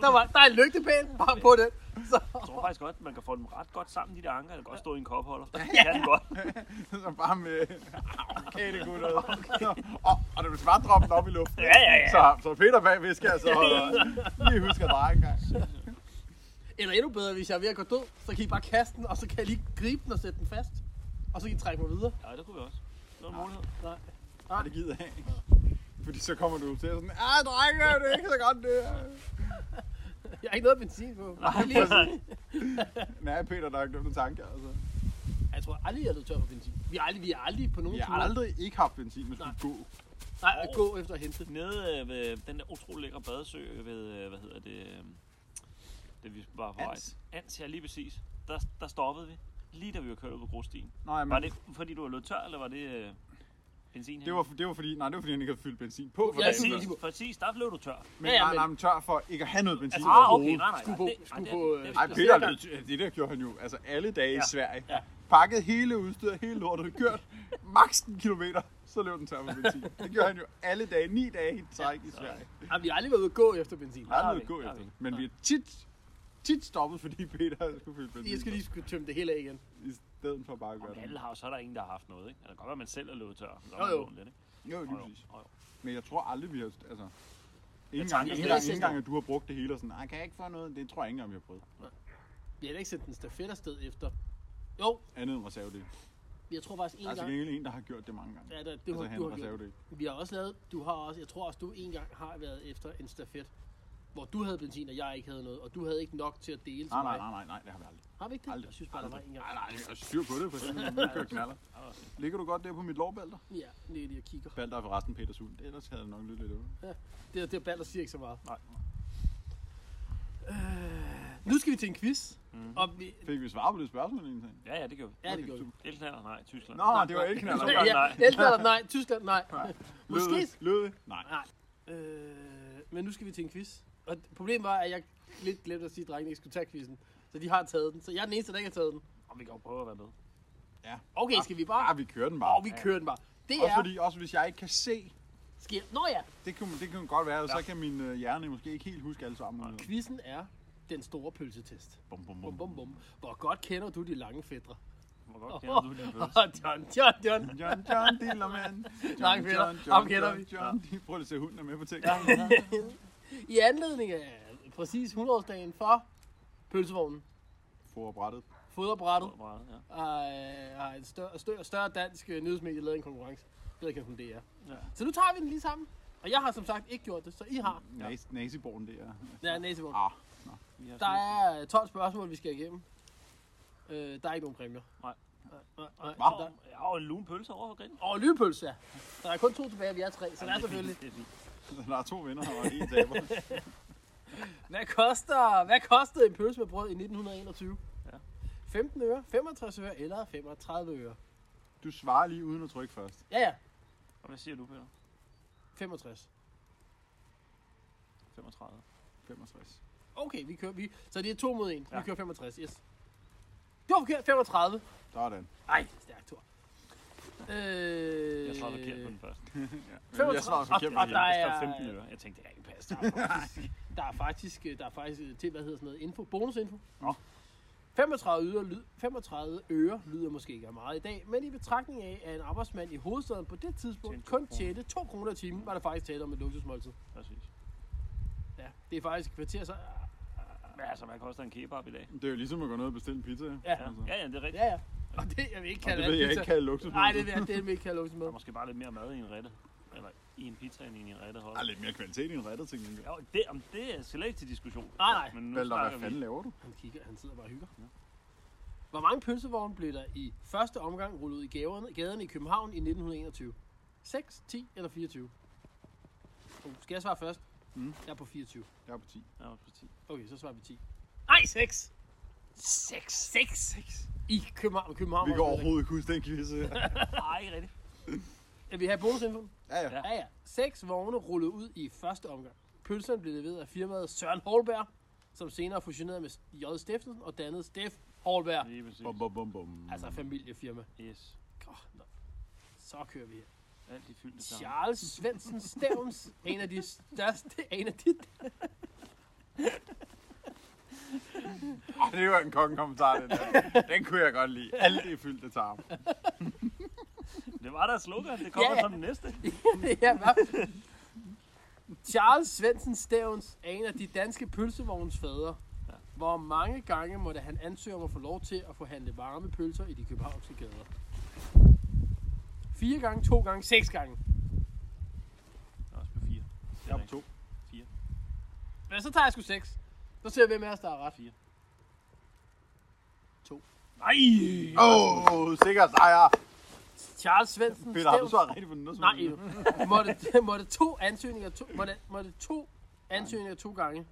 Speaker 2: Der, var, der er en lygtepæl bare på den. Så,
Speaker 3: Jeg tror faktisk godt, man kan få dem ret godt sammen, de der anker. Det kan godt stå i en kopholder. Det kan den godt.
Speaker 1: Så bare med kælegutter. Og, og du vil bare droppe den op i luften.
Speaker 3: altså. Ja, ja, ja.
Speaker 1: Så, så Peter bagved skal
Speaker 3: [LAUGHS]
Speaker 1: altså øh, lige huske at dreje en gang.
Speaker 2: eller endnu bedre, hvis jeg er ved at gå død, så kan I bare kaste den, og så kan jeg lige gribe den og sætte den fast. Og så kan I trække mig videre. [LAUGHS]
Speaker 3: Ja, det kunne vi også. Det var en mulighed.
Speaker 2: Nej.
Speaker 1: Nej, Ah, det gider jeg ikke. Fordi så kommer du til at sådan, ah, drenge, det er ikke så godt det her.
Speaker 2: Jeg har ikke noget benzin på. Jeg, har lige,
Speaker 3: Nej, [LAUGHS]
Speaker 1: Nej, Peter, der er glemt en tanke, altså.
Speaker 2: jeg tror aldrig, jeg er blevet tør for benzin. Vi har aldrig, vi har aldrig på nogen
Speaker 1: Vi har
Speaker 2: tur-
Speaker 1: aldrig ikke haft benzin, hvis vi
Speaker 2: Nej.
Speaker 1: skulle gå.
Speaker 2: Nej, at gå efter at hente.
Speaker 3: Nede øh, ved den der utrolig lækre badesø ved, øh, hvad hedder det, øh, det vi var på vej.
Speaker 1: Ans.
Speaker 3: Ans, ja, lige præcis. Der, der stoppede vi, lige da vi var kørt ud på grusstien.
Speaker 1: Nej, men
Speaker 3: Var det fordi, du var løbet tør, eller var det øh, benzin?
Speaker 1: det,
Speaker 3: henne?
Speaker 1: var, det var fordi, nej, det var fordi, han ikke havde fyldt benzin Altså, på. For
Speaker 2: Ja,
Speaker 1: dagen
Speaker 2: præcis.
Speaker 1: før.
Speaker 3: præcis, præcis, der blev du tør.
Speaker 1: Men
Speaker 2: Ja, ja,
Speaker 1: nej,
Speaker 2: men-
Speaker 1: nej, men tør for ikke at have noget benzin.
Speaker 3: Altså, ah, okay,
Speaker 1: overhovedet.
Speaker 3: nej, nej.
Speaker 2: Skulle på-
Speaker 3: nej, det-
Speaker 2: skulle
Speaker 3: nej, det-
Speaker 2: på,
Speaker 3: det-
Speaker 2: øh,
Speaker 1: Ej,
Speaker 3: det-
Speaker 1: Peter, det, det der gjorde han jo altså alle dage ja. i
Speaker 3: Ja.
Speaker 1: Sverige. Ja.
Speaker 3: Ja.
Speaker 1: Pakket hele udstyret, hele lortet, kørt maks en kilometer, så løb den tør for benzin. Det gjorde han jo alle dage, ni dage i træk i Sverige.
Speaker 2: Jamen, vi har aldrig været ude at gå efter benzin.
Speaker 1: Der er
Speaker 3: har
Speaker 1: noget
Speaker 3: vi,
Speaker 1: gå
Speaker 3: der har
Speaker 1: efter.
Speaker 3: vi.
Speaker 1: Men vi er tit, tit stoppet, fordi [LAUGHS] Peter skulle fylde benzin.
Speaker 2: Jeg skal lige skulle tømme det hele af igen.
Speaker 1: I stedet for bare at gøre
Speaker 3: Men
Speaker 1: det.
Speaker 3: alle har jo- så er der ingen, der har haft noget, ikke? Det kan godt være, at man selv er løbet tør. men
Speaker 2: Jo,
Speaker 3: Så har man
Speaker 2: jo.
Speaker 3: lånt Lidt, ikke?
Speaker 1: Jo, lige
Speaker 3: Jo,
Speaker 1: præcis.
Speaker 3: jo, jo.
Speaker 1: Men jeg tror aldrig, vi har... Altså, ingen
Speaker 3: tager
Speaker 1: gang,
Speaker 3: den
Speaker 1: ingen
Speaker 2: ikke
Speaker 1: gang,
Speaker 2: sidste
Speaker 1: ingen gang,
Speaker 2: år.
Speaker 1: at du har brugt det hele og sådan, nej, kan jeg ikke få noget? Det tror jeg ikke engang, vi har prøvet.
Speaker 2: Vi har heller ikke sendt en stafet afsted efter. Jo,
Speaker 1: Andet end reservedel.
Speaker 2: jeg tror faktisk en
Speaker 1: Der er til
Speaker 2: gang.
Speaker 1: gengæld en, der har gjort det mange gange.
Speaker 2: Ja, der, det
Speaker 1: Altså,
Speaker 2: har,
Speaker 1: han
Speaker 2: du har gjort.
Speaker 1: reservedel.
Speaker 2: Vi har også lavet, du har også, jeg tror også, du en gang har været efter en stafet, hvor du havde benzin, og jeg ikke havde noget, og du havde ikke nok til at dele til
Speaker 1: Nej, nej,
Speaker 2: mig.
Speaker 1: nej, nej, nej, det har vi aldrig.
Speaker 2: Har vi ikke det?
Speaker 1: Aldrig.
Speaker 2: Jeg synes bare, der var en gang.
Speaker 1: Nej, nej, jeg er styr på det, for eksempel, når vi kører knaller.
Speaker 2: [LAUGHS]
Speaker 1: Ligger du godt der på mit lårbælter?
Speaker 2: Ja, lige lige og kigger.
Speaker 1: Balder er forresten Peters hund. Ellers havde det nok lidt lidt ud.
Speaker 2: Det, det er Balder siger ikke så meget.
Speaker 3: Nej.
Speaker 2: Nu skal vi til en quiz. Og vi,
Speaker 1: Fik vi svar på det spørgsmål egentlig?
Speaker 3: Ja, ja, det gjorde vi.
Speaker 2: ja, det gjorde vi.
Speaker 3: Elknaller? Nej, Tyskland.
Speaker 1: Nå, det var ikke knaller.
Speaker 3: Tyskland,
Speaker 2: Ja,
Speaker 3: nej.
Speaker 2: Elfland, nej. Tyskland, nej. [LAUGHS] Måske
Speaker 1: Lød det? Nej.
Speaker 2: Nej. Øh, men nu skal vi til en quiz. Og problemet var, at jeg lidt glemte at sige, at drengene ikke skulle tage quizzen. Så de har taget den. Så jeg er den eneste, der ikke har taget den.
Speaker 3: Og vi kan jo prøve at være med.
Speaker 2: Okay, skal vi bare...
Speaker 1: Ah, vi kører den bare.
Speaker 2: Åh, oh, vi kører den bare. Det
Speaker 1: Også
Speaker 2: er...
Speaker 1: fordi, også hvis jeg ikke kan se,
Speaker 2: Sker... Nå ja,
Speaker 1: det kunne, det kunne godt være, så kan min øh, hjerne måske ikke helt huske alle sammen.
Speaker 2: quizzen er den store pølsetest.
Speaker 1: Bum, bum,
Speaker 2: Bum,
Speaker 1: bum.
Speaker 2: bum, bum. Hvor godt kender du de lange fædre? [LAUGHS]
Speaker 3: Hvor godt kender du din pølse?
Speaker 2: John, John, John.
Speaker 1: John, John
Speaker 2: [LAUGHS]
Speaker 1: Dillermand. John,
Speaker 2: Tak, Peter.
Speaker 1: John,
Speaker 2: Ham
Speaker 1: John,
Speaker 2: kender
Speaker 1: John,
Speaker 2: vi.
Speaker 1: John, John. Prøv lige at se, hunden er med på ting.
Speaker 2: I anledning af præcis 100-årsdagen for pølsevognen,
Speaker 1: Forbrættet.
Speaker 2: foderbrættet,
Speaker 3: Hvor meget, ja.
Speaker 2: har- har et større, større, større dansk øh, nyhedsmedie lavet en konkurrence. Jeg ved ikke, om det er.
Speaker 3: Ja.
Speaker 2: Så nu tager vi den lige sammen. Og jeg har som sagt ikke gjort det, så I har.
Speaker 3: Mm.
Speaker 1: Nas, Naziborgen der.
Speaker 2: Ja, næsebord.
Speaker 1: Ah, [LAUGHS]
Speaker 3: Vi har
Speaker 2: Der
Speaker 3: sådan-
Speaker 2: er øh, 12 spørgsmål, vi skal igennem. Øh, der er ikke nogen præmier.
Speaker 3: Nej.
Speaker 2: Nej, nej, nej.
Speaker 3: Wow,
Speaker 2: Så der-
Speaker 3: jeg har jo en lun pølse over for grillen.
Speaker 2: Og lynpølse, ja. Der er kun to tilbage, og vi er tre, så der er selvfølgelig.
Speaker 3: Det er fint.
Speaker 1: så der er to vinder og en taber.
Speaker 2: Hvad koster, hvad kostede en pølse med brød i 1921?
Speaker 3: Ja.
Speaker 2: 15 øre, 65 øre eller 35 øre?
Speaker 1: Du svarer lige uden at trykke først.
Speaker 2: Ja, ja.
Speaker 3: Og hvad siger du, Peter?
Speaker 2: 65.
Speaker 3: 35.
Speaker 1: 65.
Speaker 2: Okay, vi kører. Vi, så det er to mod en. Ja. Vi
Speaker 3: Ja.
Speaker 2: kører 65, yes. Det var forkert, 35.
Speaker 1: Sådan.
Speaker 2: Ej, stærkt tur. Øh,
Speaker 3: Jeg svarede forkert på den første.
Speaker 1: Jeg svarer
Speaker 2: 35.
Speaker 1: forkert
Speaker 2: Og-
Speaker 1: på
Speaker 2: og
Speaker 1: den.
Speaker 2: der
Speaker 3: Jeg
Speaker 2: er-
Speaker 3: skrev 15 øre. Jeg tænkte, det kan ikke passe.
Speaker 2: Øh,
Speaker 3: Der
Speaker 2: Der er
Speaker 3: er [LAUGHS] faktisk-
Speaker 2: faktisk, øh, der er faktisk øh, til, hvad hedder sådan noget, info, bonusinfo.
Speaker 3: Nå.
Speaker 2: 35 øre, lyd, 35 øre lyder måske ikke af meget i dag, men i betragtning af, at en arbejdsmand i hovedstaden på det tidspunkt
Speaker 3: Tjente to
Speaker 2: kun
Speaker 3: kroner.
Speaker 2: tjente 2 kroner i timen, var der faktisk tale om et luksusmåltid.
Speaker 3: Præcis.
Speaker 2: Ja, det er faktisk et kvarter, så...
Speaker 3: Men altså, hvad koster en kebab i dag?
Speaker 1: Det er jo ligesom at gå ned og bestille en pizza. Ja.
Speaker 2: Ja,
Speaker 3: Ja, ja, ja det er rigtigt.
Speaker 2: ja, ja. Og det, jeg vil ikke
Speaker 1: Og
Speaker 2: kalde
Speaker 1: det ved jeg ikke kalde luksus.
Speaker 2: Nej, det vil jeg, det vil jeg ikke kalde luksusmål.
Speaker 3: Der er måske bare lidt mere mad i en rette. Eller i en pizza end i en rette hold.
Speaker 1: Der er lidt mere kvalitet i en rettet ting.
Speaker 3: Jo, det, om det er slet ikke til diskussion.
Speaker 2: Nej, nej.
Speaker 3: Men nu
Speaker 1: Valder, hvad
Speaker 3: snakker
Speaker 1: fanden
Speaker 3: vi.
Speaker 1: laver du?
Speaker 2: Han kigger, han sidder bare og hygger. Hvor mange pølsevogne blev der i første omgang rullet ud i gaderne, gaderne i København i 1921? 6, 10 eller 24? Oh, skal jeg svare først?
Speaker 1: Mm.
Speaker 2: Jeg er på 24.
Speaker 1: Jeg er på 10.
Speaker 3: Ja, præcis.
Speaker 2: Okay, så svarer vi 10. Nej, 6! 6! 6! 6! I København. København
Speaker 1: Vi kan
Speaker 2: var det
Speaker 1: overhovedet ikke huske den quiz.
Speaker 3: Nej, ikke rigtigt.
Speaker 2: rigtigt. Vil I have bonusinfoen?
Speaker 1: Ja, ja.
Speaker 2: Ja, ja. 6 vogne rullede ud i første omgang. Pølserne blev leveret af firmaet Søren Holberg, som senere fusionerede med J. Steffensen og dannede Steff Holberg.
Speaker 1: Mm.
Speaker 3: Lige præcis.
Speaker 1: Bum, bum, bum, bum.
Speaker 2: Altså familiefirma.
Speaker 3: Yes.
Speaker 2: Godt, nå. Så kører vi her.
Speaker 3: Alt de fyldte sammen.
Speaker 2: Charles Svendsen Stævns, en af de største, en af de [LAUGHS]
Speaker 1: Ej, det var en kongekommentar, den der. Den kunne jeg godt lide. Alt det fyldte tarm.
Speaker 3: Det var der slogan. Det kommer
Speaker 2: Ja, ja.
Speaker 3: som den næste.
Speaker 2: ja, hvad? Charles Svendsen Stævns er en af de danske pølsevogns fædre,
Speaker 3: Ja.
Speaker 2: hvor mange gange måtte han ansøge om at få lov til at få handlet varme pølser i de københavnske gader. Fire gange, to gange, seks gange.
Speaker 3: Jeg er også på fire.
Speaker 1: Jeg er på to.
Speaker 2: Men så tager jeg sgu seks. Så ser vi, hvem af os, der er ret.
Speaker 3: Fire.
Speaker 2: To.
Speaker 3: Nej!
Speaker 1: Åh, oh, sikkert sejr.
Speaker 2: Charles Svendsen
Speaker 1: Peter, har du
Speaker 2: Stævns...
Speaker 1: svaret rigtigt på den?
Speaker 2: Nej, Eva. måtte, [LAUGHS] måtte to ansøgninger to, måtte, måtte to ansøgninger to gange.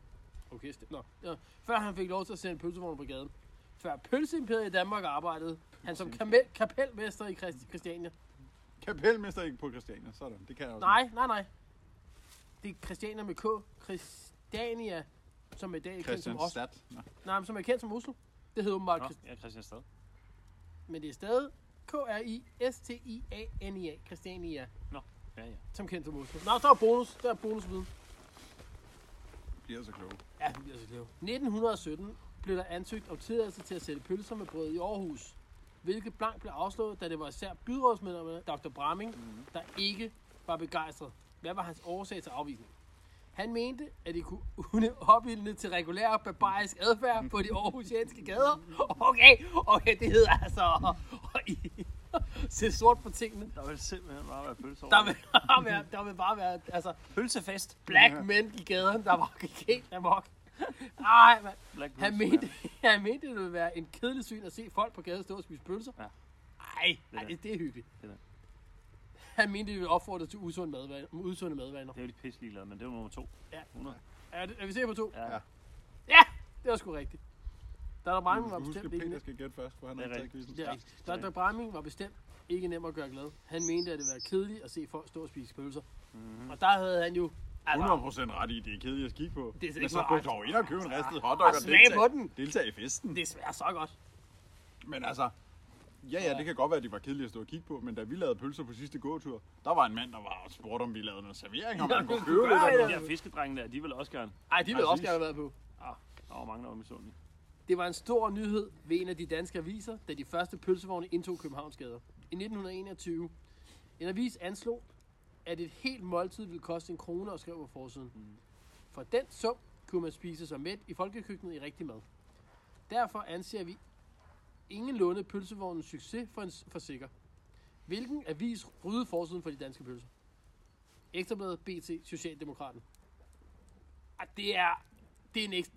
Speaker 2: Okay, stem. Nå. Ja. Før han fik lov til at sende pølsevognen på gaden. Før pølseimperiet i Danmark arbejdede han som kamel, kapelmester i Christ, Christiania.
Speaker 1: Kapelmester ikke på Christiania. Sådan, det kan jeg også.
Speaker 2: Nej, nej, nej. Det er Christiania med K. Christiania, som i dag er kendt som,
Speaker 1: Christian
Speaker 2: Oslo.
Speaker 1: Stad. Nå.
Speaker 2: Nej, men som er kendt som Oslo. Det hedder åbenbart
Speaker 3: Nå,
Speaker 2: Christ-
Speaker 3: jeg er Christian Stad.
Speaker 2: Men det er stadig K-R-I-S-T-I-A-N-I-A. Christiania,
Speaker 3: Nå, ja, ja.
Speaker 2: som kendt som Oslo. Nå, der er bonus. Der er bonusviden.
Speaker 1: Bliver så kloge.
Speaker 2: Ja, hun bliver så klog. 1917 blev der ansøgt om tilladelse til at sælge pølser med brød i Aarhus, hvilket blank blev afslået, da det var især byrådsmedlemmerne, Dr. Bramming, mm. der ikke var begejstret. Hvad var hans årsag til afvisning? Han mente, at det kunne kunne opildne til regulær barbarisk adfærd på de aarhusianske gader. Okay, okay, det hedder altså at se sort på tingene.
Speaker 3: Der vil simpelthen bare være pølser
Speaker 2: Der vil, bare være, der vil bare være, altså,
Speaker 3: Pølsefest.
Speaker 2: black men i gaden, der var helt amok. Nej, mand.
Speaker 3: Black
Speaker 2: Han
Speaker 3: pølse,
Speaker 2: mente, [LAUGHS]
Speaker 3: mand.
Speaker 2: han mente, det ville være en kedelig syn at se folk på gaden stå og spise pølser.
Speaker 3: Ja.
Speaker 2: Ej,
Speaker 3: er
Speaker 2: ej, det, det er hyggeligt.
Speaker 3: Det er
Speaker 2: Han mente, det ville opfordre til usunde madvaner. Usunde madvaner.
Speaker 3: Det er jo de pisse ligeglade, men det var nummer to.
Speaker 2: Ja.
Speaker 3: 100.
Speaker 2: Er, det, er vi sikre på to? Ja.
Speaker 3: Ja,
Speaker 1: Ja.
Speaker 3: ja.
Speaker 2: Det var sgu rigtigt. Der er der Bramming,
Speaker 1: Du
Speaker 2: var
Speaker 1: skal huske,
Speaker 2: bestemt
Speaker 1: at
Speaker 2: ikke
Speaker 1: Peter
Speaker 2: nem.
Speaker 1: skal gætte først, for han
Speaker 3: Det
Speaker 1: har
Speaker 3: er
Speaker 1: ikke taget
Speaker 3: rigtigt.
Speaker 1: quizzen.
Speaker 2: Det er
Speaker 3: Ja,
Speaker 2: rigtigt.
Speaker 3: det er
Speaker 2: Der, der Bramming var bestemt ikke nem at gøre glad. Han mente, at det ville være kedeligt at se folk stå og spise pølser.
Speaker 3: Mhm.
Speaker 2: Mm-hmm. Og der havde han jo...
Speaker 1: 100% ret i, det er kedeligt at skide på.
Speaker 2: Det er slet
Speaker 1: Men
Speaker 2: ikke
Speaker 1: så gå
Speaker 2: korrekt.
Speaker 1: dog ind og købe en ristet hotdog og
Speaker 2: Og smage på den.
Speaker 1: deltage, deltage i festen.
Speaker 2: det smager så godt.
Speaker 1: Men altså, ja, ja, det kan godt være, at de var kedelige at stå og kigge på, men da vi lavede pølser på sidste gåtur, der var en mand, der var og spurgte, om vi lavede noget servering, om man kunne købe lidt.
Speaker 2: Ej,
Speaker 1: eller
Speaker 3: De
Speaker 1: noget.
Speaker 3: der fiskedrenge der, de vil også gerne.
Speaker 2: Ej, de ville også
Speaker 1: Præcis.
Speaker 2: gerne have været på.
Speaker 3: Ah, der var mange, der var misundelige.
Speaker 2: Det var en stor nyhed ved en af de danske aviser, da de første pølsevogne indtog Københavns gader. I 1921. En avis anslog, at et helt måltid ville koste en krone og skrev på forsiden. For den sum kunne man spise sig mæt i folkekøkkenet i rigtig mad. Derfor anser vi ingenlunde pølsevognens succes for, en, for sikker. Hvilken avis ryddede forsiden for de danske pølser? Ekstrabladet, BT, Socialdemokraten. Ah, det er, det er en ekstra,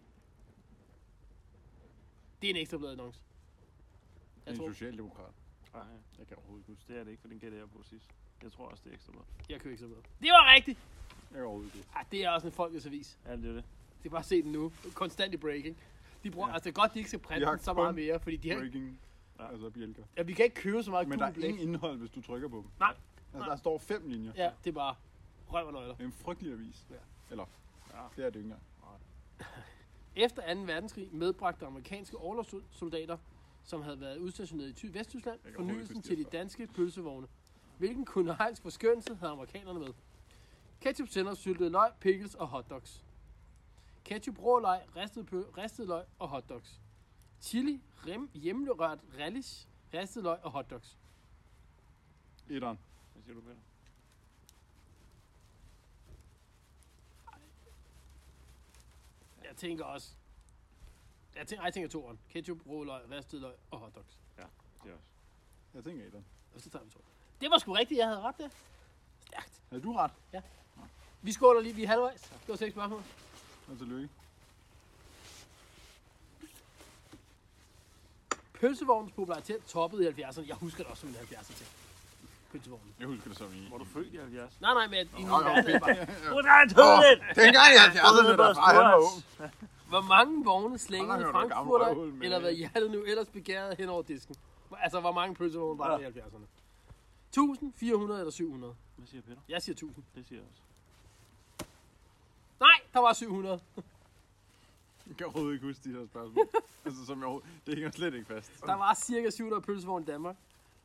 Speaker 2: det er en ekstrablad annonce. Jeg
Speaker 1: En
Speaker 2: tror,
Speaker 1: socialdemokrat.
Speaker 3: Nej, jeg kan overhovedet ikke huske. Det er det ikke, for den gætter jeg på sidst. Jeg tror også, det er ekstra blad.
Speaker 2: jeg kører ekstrabladet. Det var rigtigt!
Speaker 1: Jeg kan overhovedet ikke.
Speaker 2: Ah, det er også en folkets avis.
Speaker 3: Ja, det er det.
Speaker 2: Det er bare at se den nu. Konstant i breaking. De bruger, ja. altså det er godt, de ikke skal printe
Speaker 1: De har
Speaker 2: den så
Speaker 1: kun
Speaker 2: meget mere, fordi de har,
Speaker 1: Breaking.
Speaker 3: Ja.
Speaker 1: Altså bjælker.
Speaker 2: ja, vi kan ikke købe så meget
Speaker 1: Men der er
Speaker 2: gul blæk.
Speaker 1: ingen indhold, hvis du trykker på dem.
Speaker 2: Nej.
Speaker 1: Altså, der står fem linjer.
Speaker 2: Ja, det er bare røv og nøgler.
Speaker 1: Det er en frygtelig avis.
Speaker 2: Ja.
Speaker 1: Eller,
Speaker 3: Ja.
Speaker 1: det er det ikke engang.
Speaker 2: Efter 2. verdenskrig medbragte amerikanske overlovssoldater, som havde været udstationeret i Ty Vesttyskland,
Speaker 1: kan overhovedet ikke
Speaker 2: fornyelsen
Speaker 1: huske
Speaker 2: til de
Speaker 1: det før.
Speaker 2: danske pølsevogne. Hvilken kulinarisk forskønnelse havde amerikanerne med? Ketchup, sennep, syltet løg, pickles og hotdogs. Ketchup, rå løg, ristet, pø, ristet løg og hotdogs. Chili, rem, hjemlerørt relish, ristet løg og hotdogs.
Speaker 1: Etteren.
Speaker 3: Hvad siger du, Peter?
Speaker 2: Jeg tænker også... Jeg tænker, ej, jeg tænker toeren. Ketchup, rå løg, ristet løg og hotdogs.
Speaker 3: Ja, det er også.
Speaker 1: Jeg tænker etteren.
Speaker 2: Og så tager vi to. Det var sgu rigtigt, jeg havde ret der. Stærkt.
Speaker 1: Havde du ret?
Speaker 2: Vi skåler lige, vi er halvvejs. Det var seks spørgsmål.
Speaker 1: Og tillykke.
Speaker 2: Pølsevognens popularitet toppede i 70'erne. Jeg husker det også som en 70'er ting. Pølsevognen.
Speaker 1: Jeg husker det som i.
Speaker 3: Var du født i 70?
Speaker 2: Nej, nej, men i min
Speaker 1: Nå, nå,
Speaker 2: verden, [LAUGHS]
Speaker 3: Hvordan tog det?
Speaker 1: Dengang i 70'erne, der far, han var ung.
Speaker 2: hvor mange vogne slængede
Speaker 1: Godt nok er du et gammelt
Speaker 2: Frankfurter,
Speaker 1: røvhul, men-
Speaker 2: eller hvad hjertet nu ellers begærede hen over disken? Hvor- Altså, hvor mange pølsevogne var der i 70'erne? 1000, 400 eller 700?
Speaker 3: Hvad siger Peter?
Speaker 2: Jeg siger 1000.
Speaker 3: Det siger jeg også.
Speaker 2: Nej, der var 700.
Speaker 1: Jeg kan overhovedet ikke huske de her
Speaker 2: [LAUGHS]
Speaker 1: spørgsmål. altså, som jeg, overhovedet- det hænger slet ikke fast.
Speaker 2: Der var cirka 700 pølsevogne i Danmark,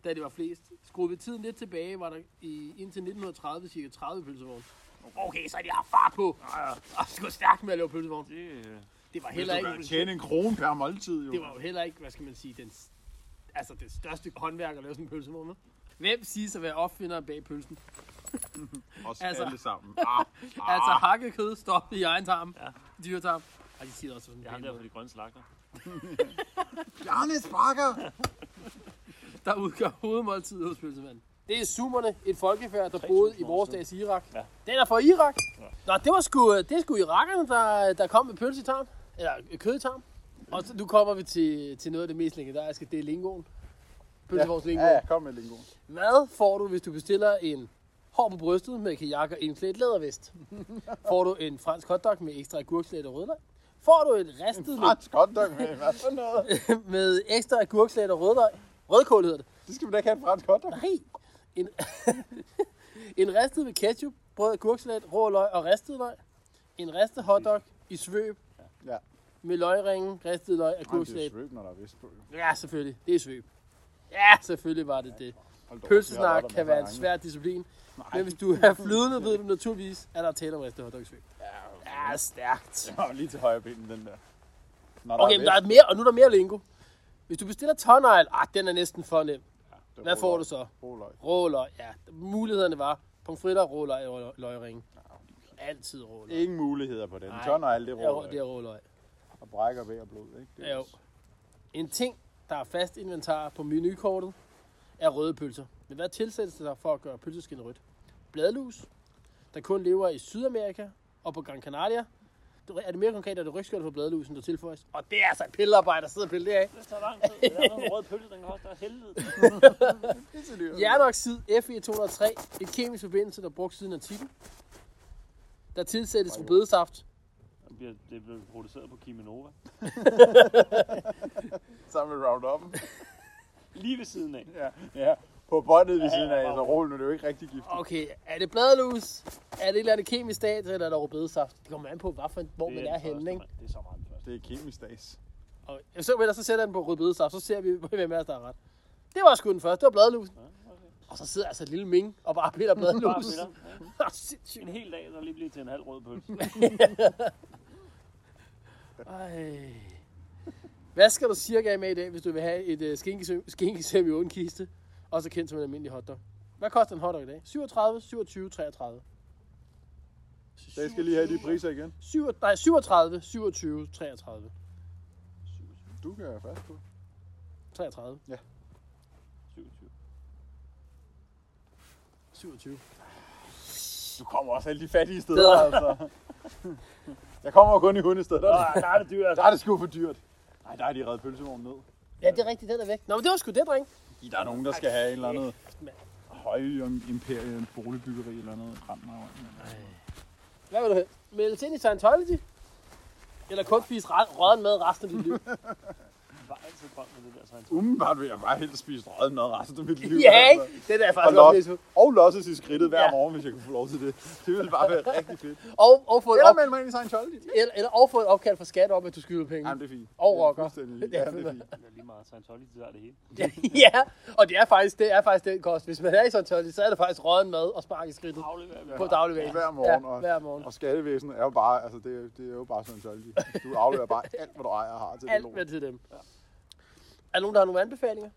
Speaker 2: da det var flest. Skruede vi tiden lidt tilbage, var der i, indtil 1930 cirka 30 pølsevogne. Okay, så de har fart på. Og sgu stærkt med at lave pølsevogne.
Speaker 3: Det, øh,
Speaker 2: Det var
Speaker 1: Hvis
Speaker 2: heller
Speaker 1: du kan
Speaker 2: ikke,
Speaker 1: tjene en krone per måltid, jo.
Speaker 2: det var jo heller ikke, hvad skal man sige, den, s- altså det største håndværk at lave sådan en pølsevogn med. Hvem siges at være opfinderen bag pølsen?
Speaker 1: Os
Speaker 2: altså-
Speaker 1: altså... alle
Speaker 2: [LAUGHS]
Speaker 1: sammen. Ah, ah.
Speaker 2: Altså hakket kød stoppet i egen tarm. Ja. Dyretarm. Og de siger det også sådan
Speaker 3: jeg har
Speaker 2: en
Speaker 3: derfor
Speaker 2: måde.
Speaker 3: de grønne slagter.
Speaker 1: Bjarne Sparker!
Speaker 2: Der udgør hovedmåltid hos pølsemanden. Det er summerne, et folkefærd, der boede i vores dags Irak. Ja. Den er fra Irak. Ja. Nå, det var sgu, øh, det er sgu irakerne, der, der kom med pølse i tarm. Eller øh, kød i tarm. Og så, nu kommer vi til, til noget af det mest legendariske, det er lingoen. Pølsevogns ja. lingoen.
Speaker 1: Ja, ja, kom med lingo.
Speaker 2: Hvad får du, hvis du bestiller en hår på brystet med kajak og indklædt [LAUGHS] lædervest? får du en fransk hotdog med ekstra agurkslæt og rødløg? Får du et ristet med,
Speaker 1: Fransk hotdog med, hvad for noget?
Speaker 2: med [LAUGHS] ekstra agurkslæt og rødløg? Rødkål hedder det.
Speaker 1: Det skal vi da ikke have en fransk hotdog.
Speaker 2: Nej. En, [LAUGHS] en ristet med ketchup, brød, agurkslæt, rå løg og ristet løg. En ristet hotdog i svøb
Speaker 1: Ja.
Speaker 2: med løgringen, ristet løg og
Speaker 1: Ej, det er
Speaker 2: agurkslæt.
Speaker 1: svøb, når der er vest på. jo.
Speaker 2: Ja, selvfølgelig. Det er svøb. Ja, selvfølgelig var det det.
Speaker 1: Hold da op, vi har
Speaker 2: Pølsesnak
Speaker 1: rotter
Speaker 2: kan
Speaker 1: med
Speaker 2: være en
Speaker 1: drenge.
Speaker 2: svær disciplin. Men hvis du er flydende, ved du naturligvis, at der er tale om ristet hotdog i svøb. Ja, stærkt.
Speaker 1: Nå, lige til højre benen, den der. Når
Speaker 2: Okay, men der er mere, og nu er der mere lingo. Hvis du bestiller tonnegl, ah, den er næsten for nem. Hvad får du så?
Speaker 1: Roløg.
Speaker 2: Råløg, ja. Mulighederne var pomfritter, råløg og løgring. Altid råløg.
Speaker 1: Ingen muligheder på den.
Speaker 2: Nej.
Speaker 1: Tønder alt det
Speaker 2: Ja, det
Speaker 1: råløg.
Speaker 2: er råløg.
Speaker 1: Og brækker ved og blod, ikke? Det er
Speaker 2: Jo. En ting, der er fast inventar på menukortet, er røde pølser. Men hvad tilsættes der for at gøre pølseskindet rødt? Bladlus, der kun lever i Sydamerika og på Gran Canaria. Det- Er det mere konkret, er det rygskjoldet for bladlusen, der tilføjes? Og det er altså et pillearbejde, der sidder og piller det af.
Speaker 3: Det tager lang tid. Det er en rød pølse, den koster helvede.
Speaker 2: Jernoxid Fe203, et kemisk forbindelse, der er brugt siden antikken. Der tilsættes rødbedesaft,
Speaker 3: Det bliver, det bliver produceret på Kiminova.
Speaker 1: Sammen med Roundup.
Speaker 3: Lige ved siden af.
Speaker 1: Ja. ja. På båndet ved
Speaker 3: Ja,
Speaker 1: siden
Speaker 3: ja,
Speaker 1: af,
Speaker 3: bare
Speaker 1: så
Speaker 3: rolig.
Speaker 1: rollen er det jo ikke rigtig gift.
Speaker 2: Okay, er det bladlus? Er det et eller andet kemisk stat, eller er det rødbedesaft? Det kommer an på, hvad for, en- hvor man
Speaker 3: den
Speaker 2: er
Speaker 3: første,
Speaker 2: henne, ikke?
Speaker 3: mand. Det er så meget den første.
Speaker 1: Det er kemisk dags.
Speaker 2: Og så, eller så sætter jeg den på rødbedesaft, så ser vi, [LAUGHS] hvem af os, der er ret. Det var sgu den første, det var bladlus. Og så sidder altså et lille ming og bare piller
Speaker 3: Bare
Speaker 2: bladlus. [LAUGHS]
Speaker 3: piller.
Speaker 2: Åh, Sindssygt.
Speaker 3: En hel dag, der lige bliver til en halv rød pølse.
Speaker 2: Ej. Hvad skal du cirka have med i dag, hvis du vil have et uh, skinkesem i uden kiste? Også kendt som en almindelig hotdog. Hvad koster en hotdog i dag? 37, 27, 33.
Speaker 1: Det skal lige have de priser igen.
Speaker 2: 7, nej, 37, 27, 33.
Speaker 1: Du kan være fast på.
Speaker 2: 33,
Speaker 3: 27.
Speaker 2: 27.
Speaker 1: Du kommer også alle de fattige steder,
Speaker 2: Steder.
Speaker 1: altså. [LAUGHS] Jeg kommer kun i hundestedet. Der, er det-
Speaker 3: Ah, der er det dyrt.
Speaker 1: der er det sgu for dyrt. Nej, der er de reddet pølsevognen ned.
Speaker 2: Ja, det er rigtigt, den er væk. Nå, men det var sgu det, dreng.
Speaker 1: I- Der er nogen, der skal have en eller anden
Speaker 2: mand.
Speaker 1: høj imperium boligbyggeri eller noget. Kram mig over.
Speaker 2: Hvad vil du have? Melde ind i Scientology? Eller kun spise re- rødden med resten af dit liv?
Speaker 3: Jeg var altid drømt om det der science.
Speaker 1: Umiddelbart vil jeg bare helst spise røget mad resten af mit liv.
Speaker 2: [LAUGHS] ja,
Speaker 1: altså.
Speaker 2: ikke? Det der er
Speaker 1: Og,
Speaker 2: faktisk også
Speaker 1: los,
Speaker 2: lidt
Speaker 1: og losses i skridtet hver
Speaker 2: Ja.
Speaker 1: morgen, hvis jeg kunne få lov til det. Det ville bare være rigtig fedt.
Speaker 2: og, og, få et
Speaker 1: Eller
Speaker 2: op,
Speaker 1: melde mig ind i Scientology.
Speaker 2: eller, eller, og få et opkald fra skat om, at du skylder penge.
Speaker 1: Jamen, det er fint.
Speaker 2: Og
Speaker 1: Det er
Speaker 2: rocker.
Speaker 1: fuldstændig lige.
Speaker 2: Ja,
Speaker 1: Ja, det er fint.
Speaker 3: Det er lige meget Scientology, det er det hele.
Speaker 2: [LAUGHS] ja, og det er faktisk det er faktisk den kost. Hvis man er i Scientology, så er det faktisk rødden mad og spark i skridtet
Speaker 3: Afleverer vi.
Speaker 2: på daglig basis.
Speaker 1: Hver morgen.
Speaker 2: Ja,
Speaker 1: og-
Speaker 2: hver morgen.
Speaker 1: Og skattevæsenet er jo bare, altså det, er- det er jo bare Scientology. Du afleverer bare alt, hvad du ejer og har til det
Speaker 2: Alt
Speaker 1: lort.
Speaker 2: med til dem. Er der nogen, der har nogle anbefalinger?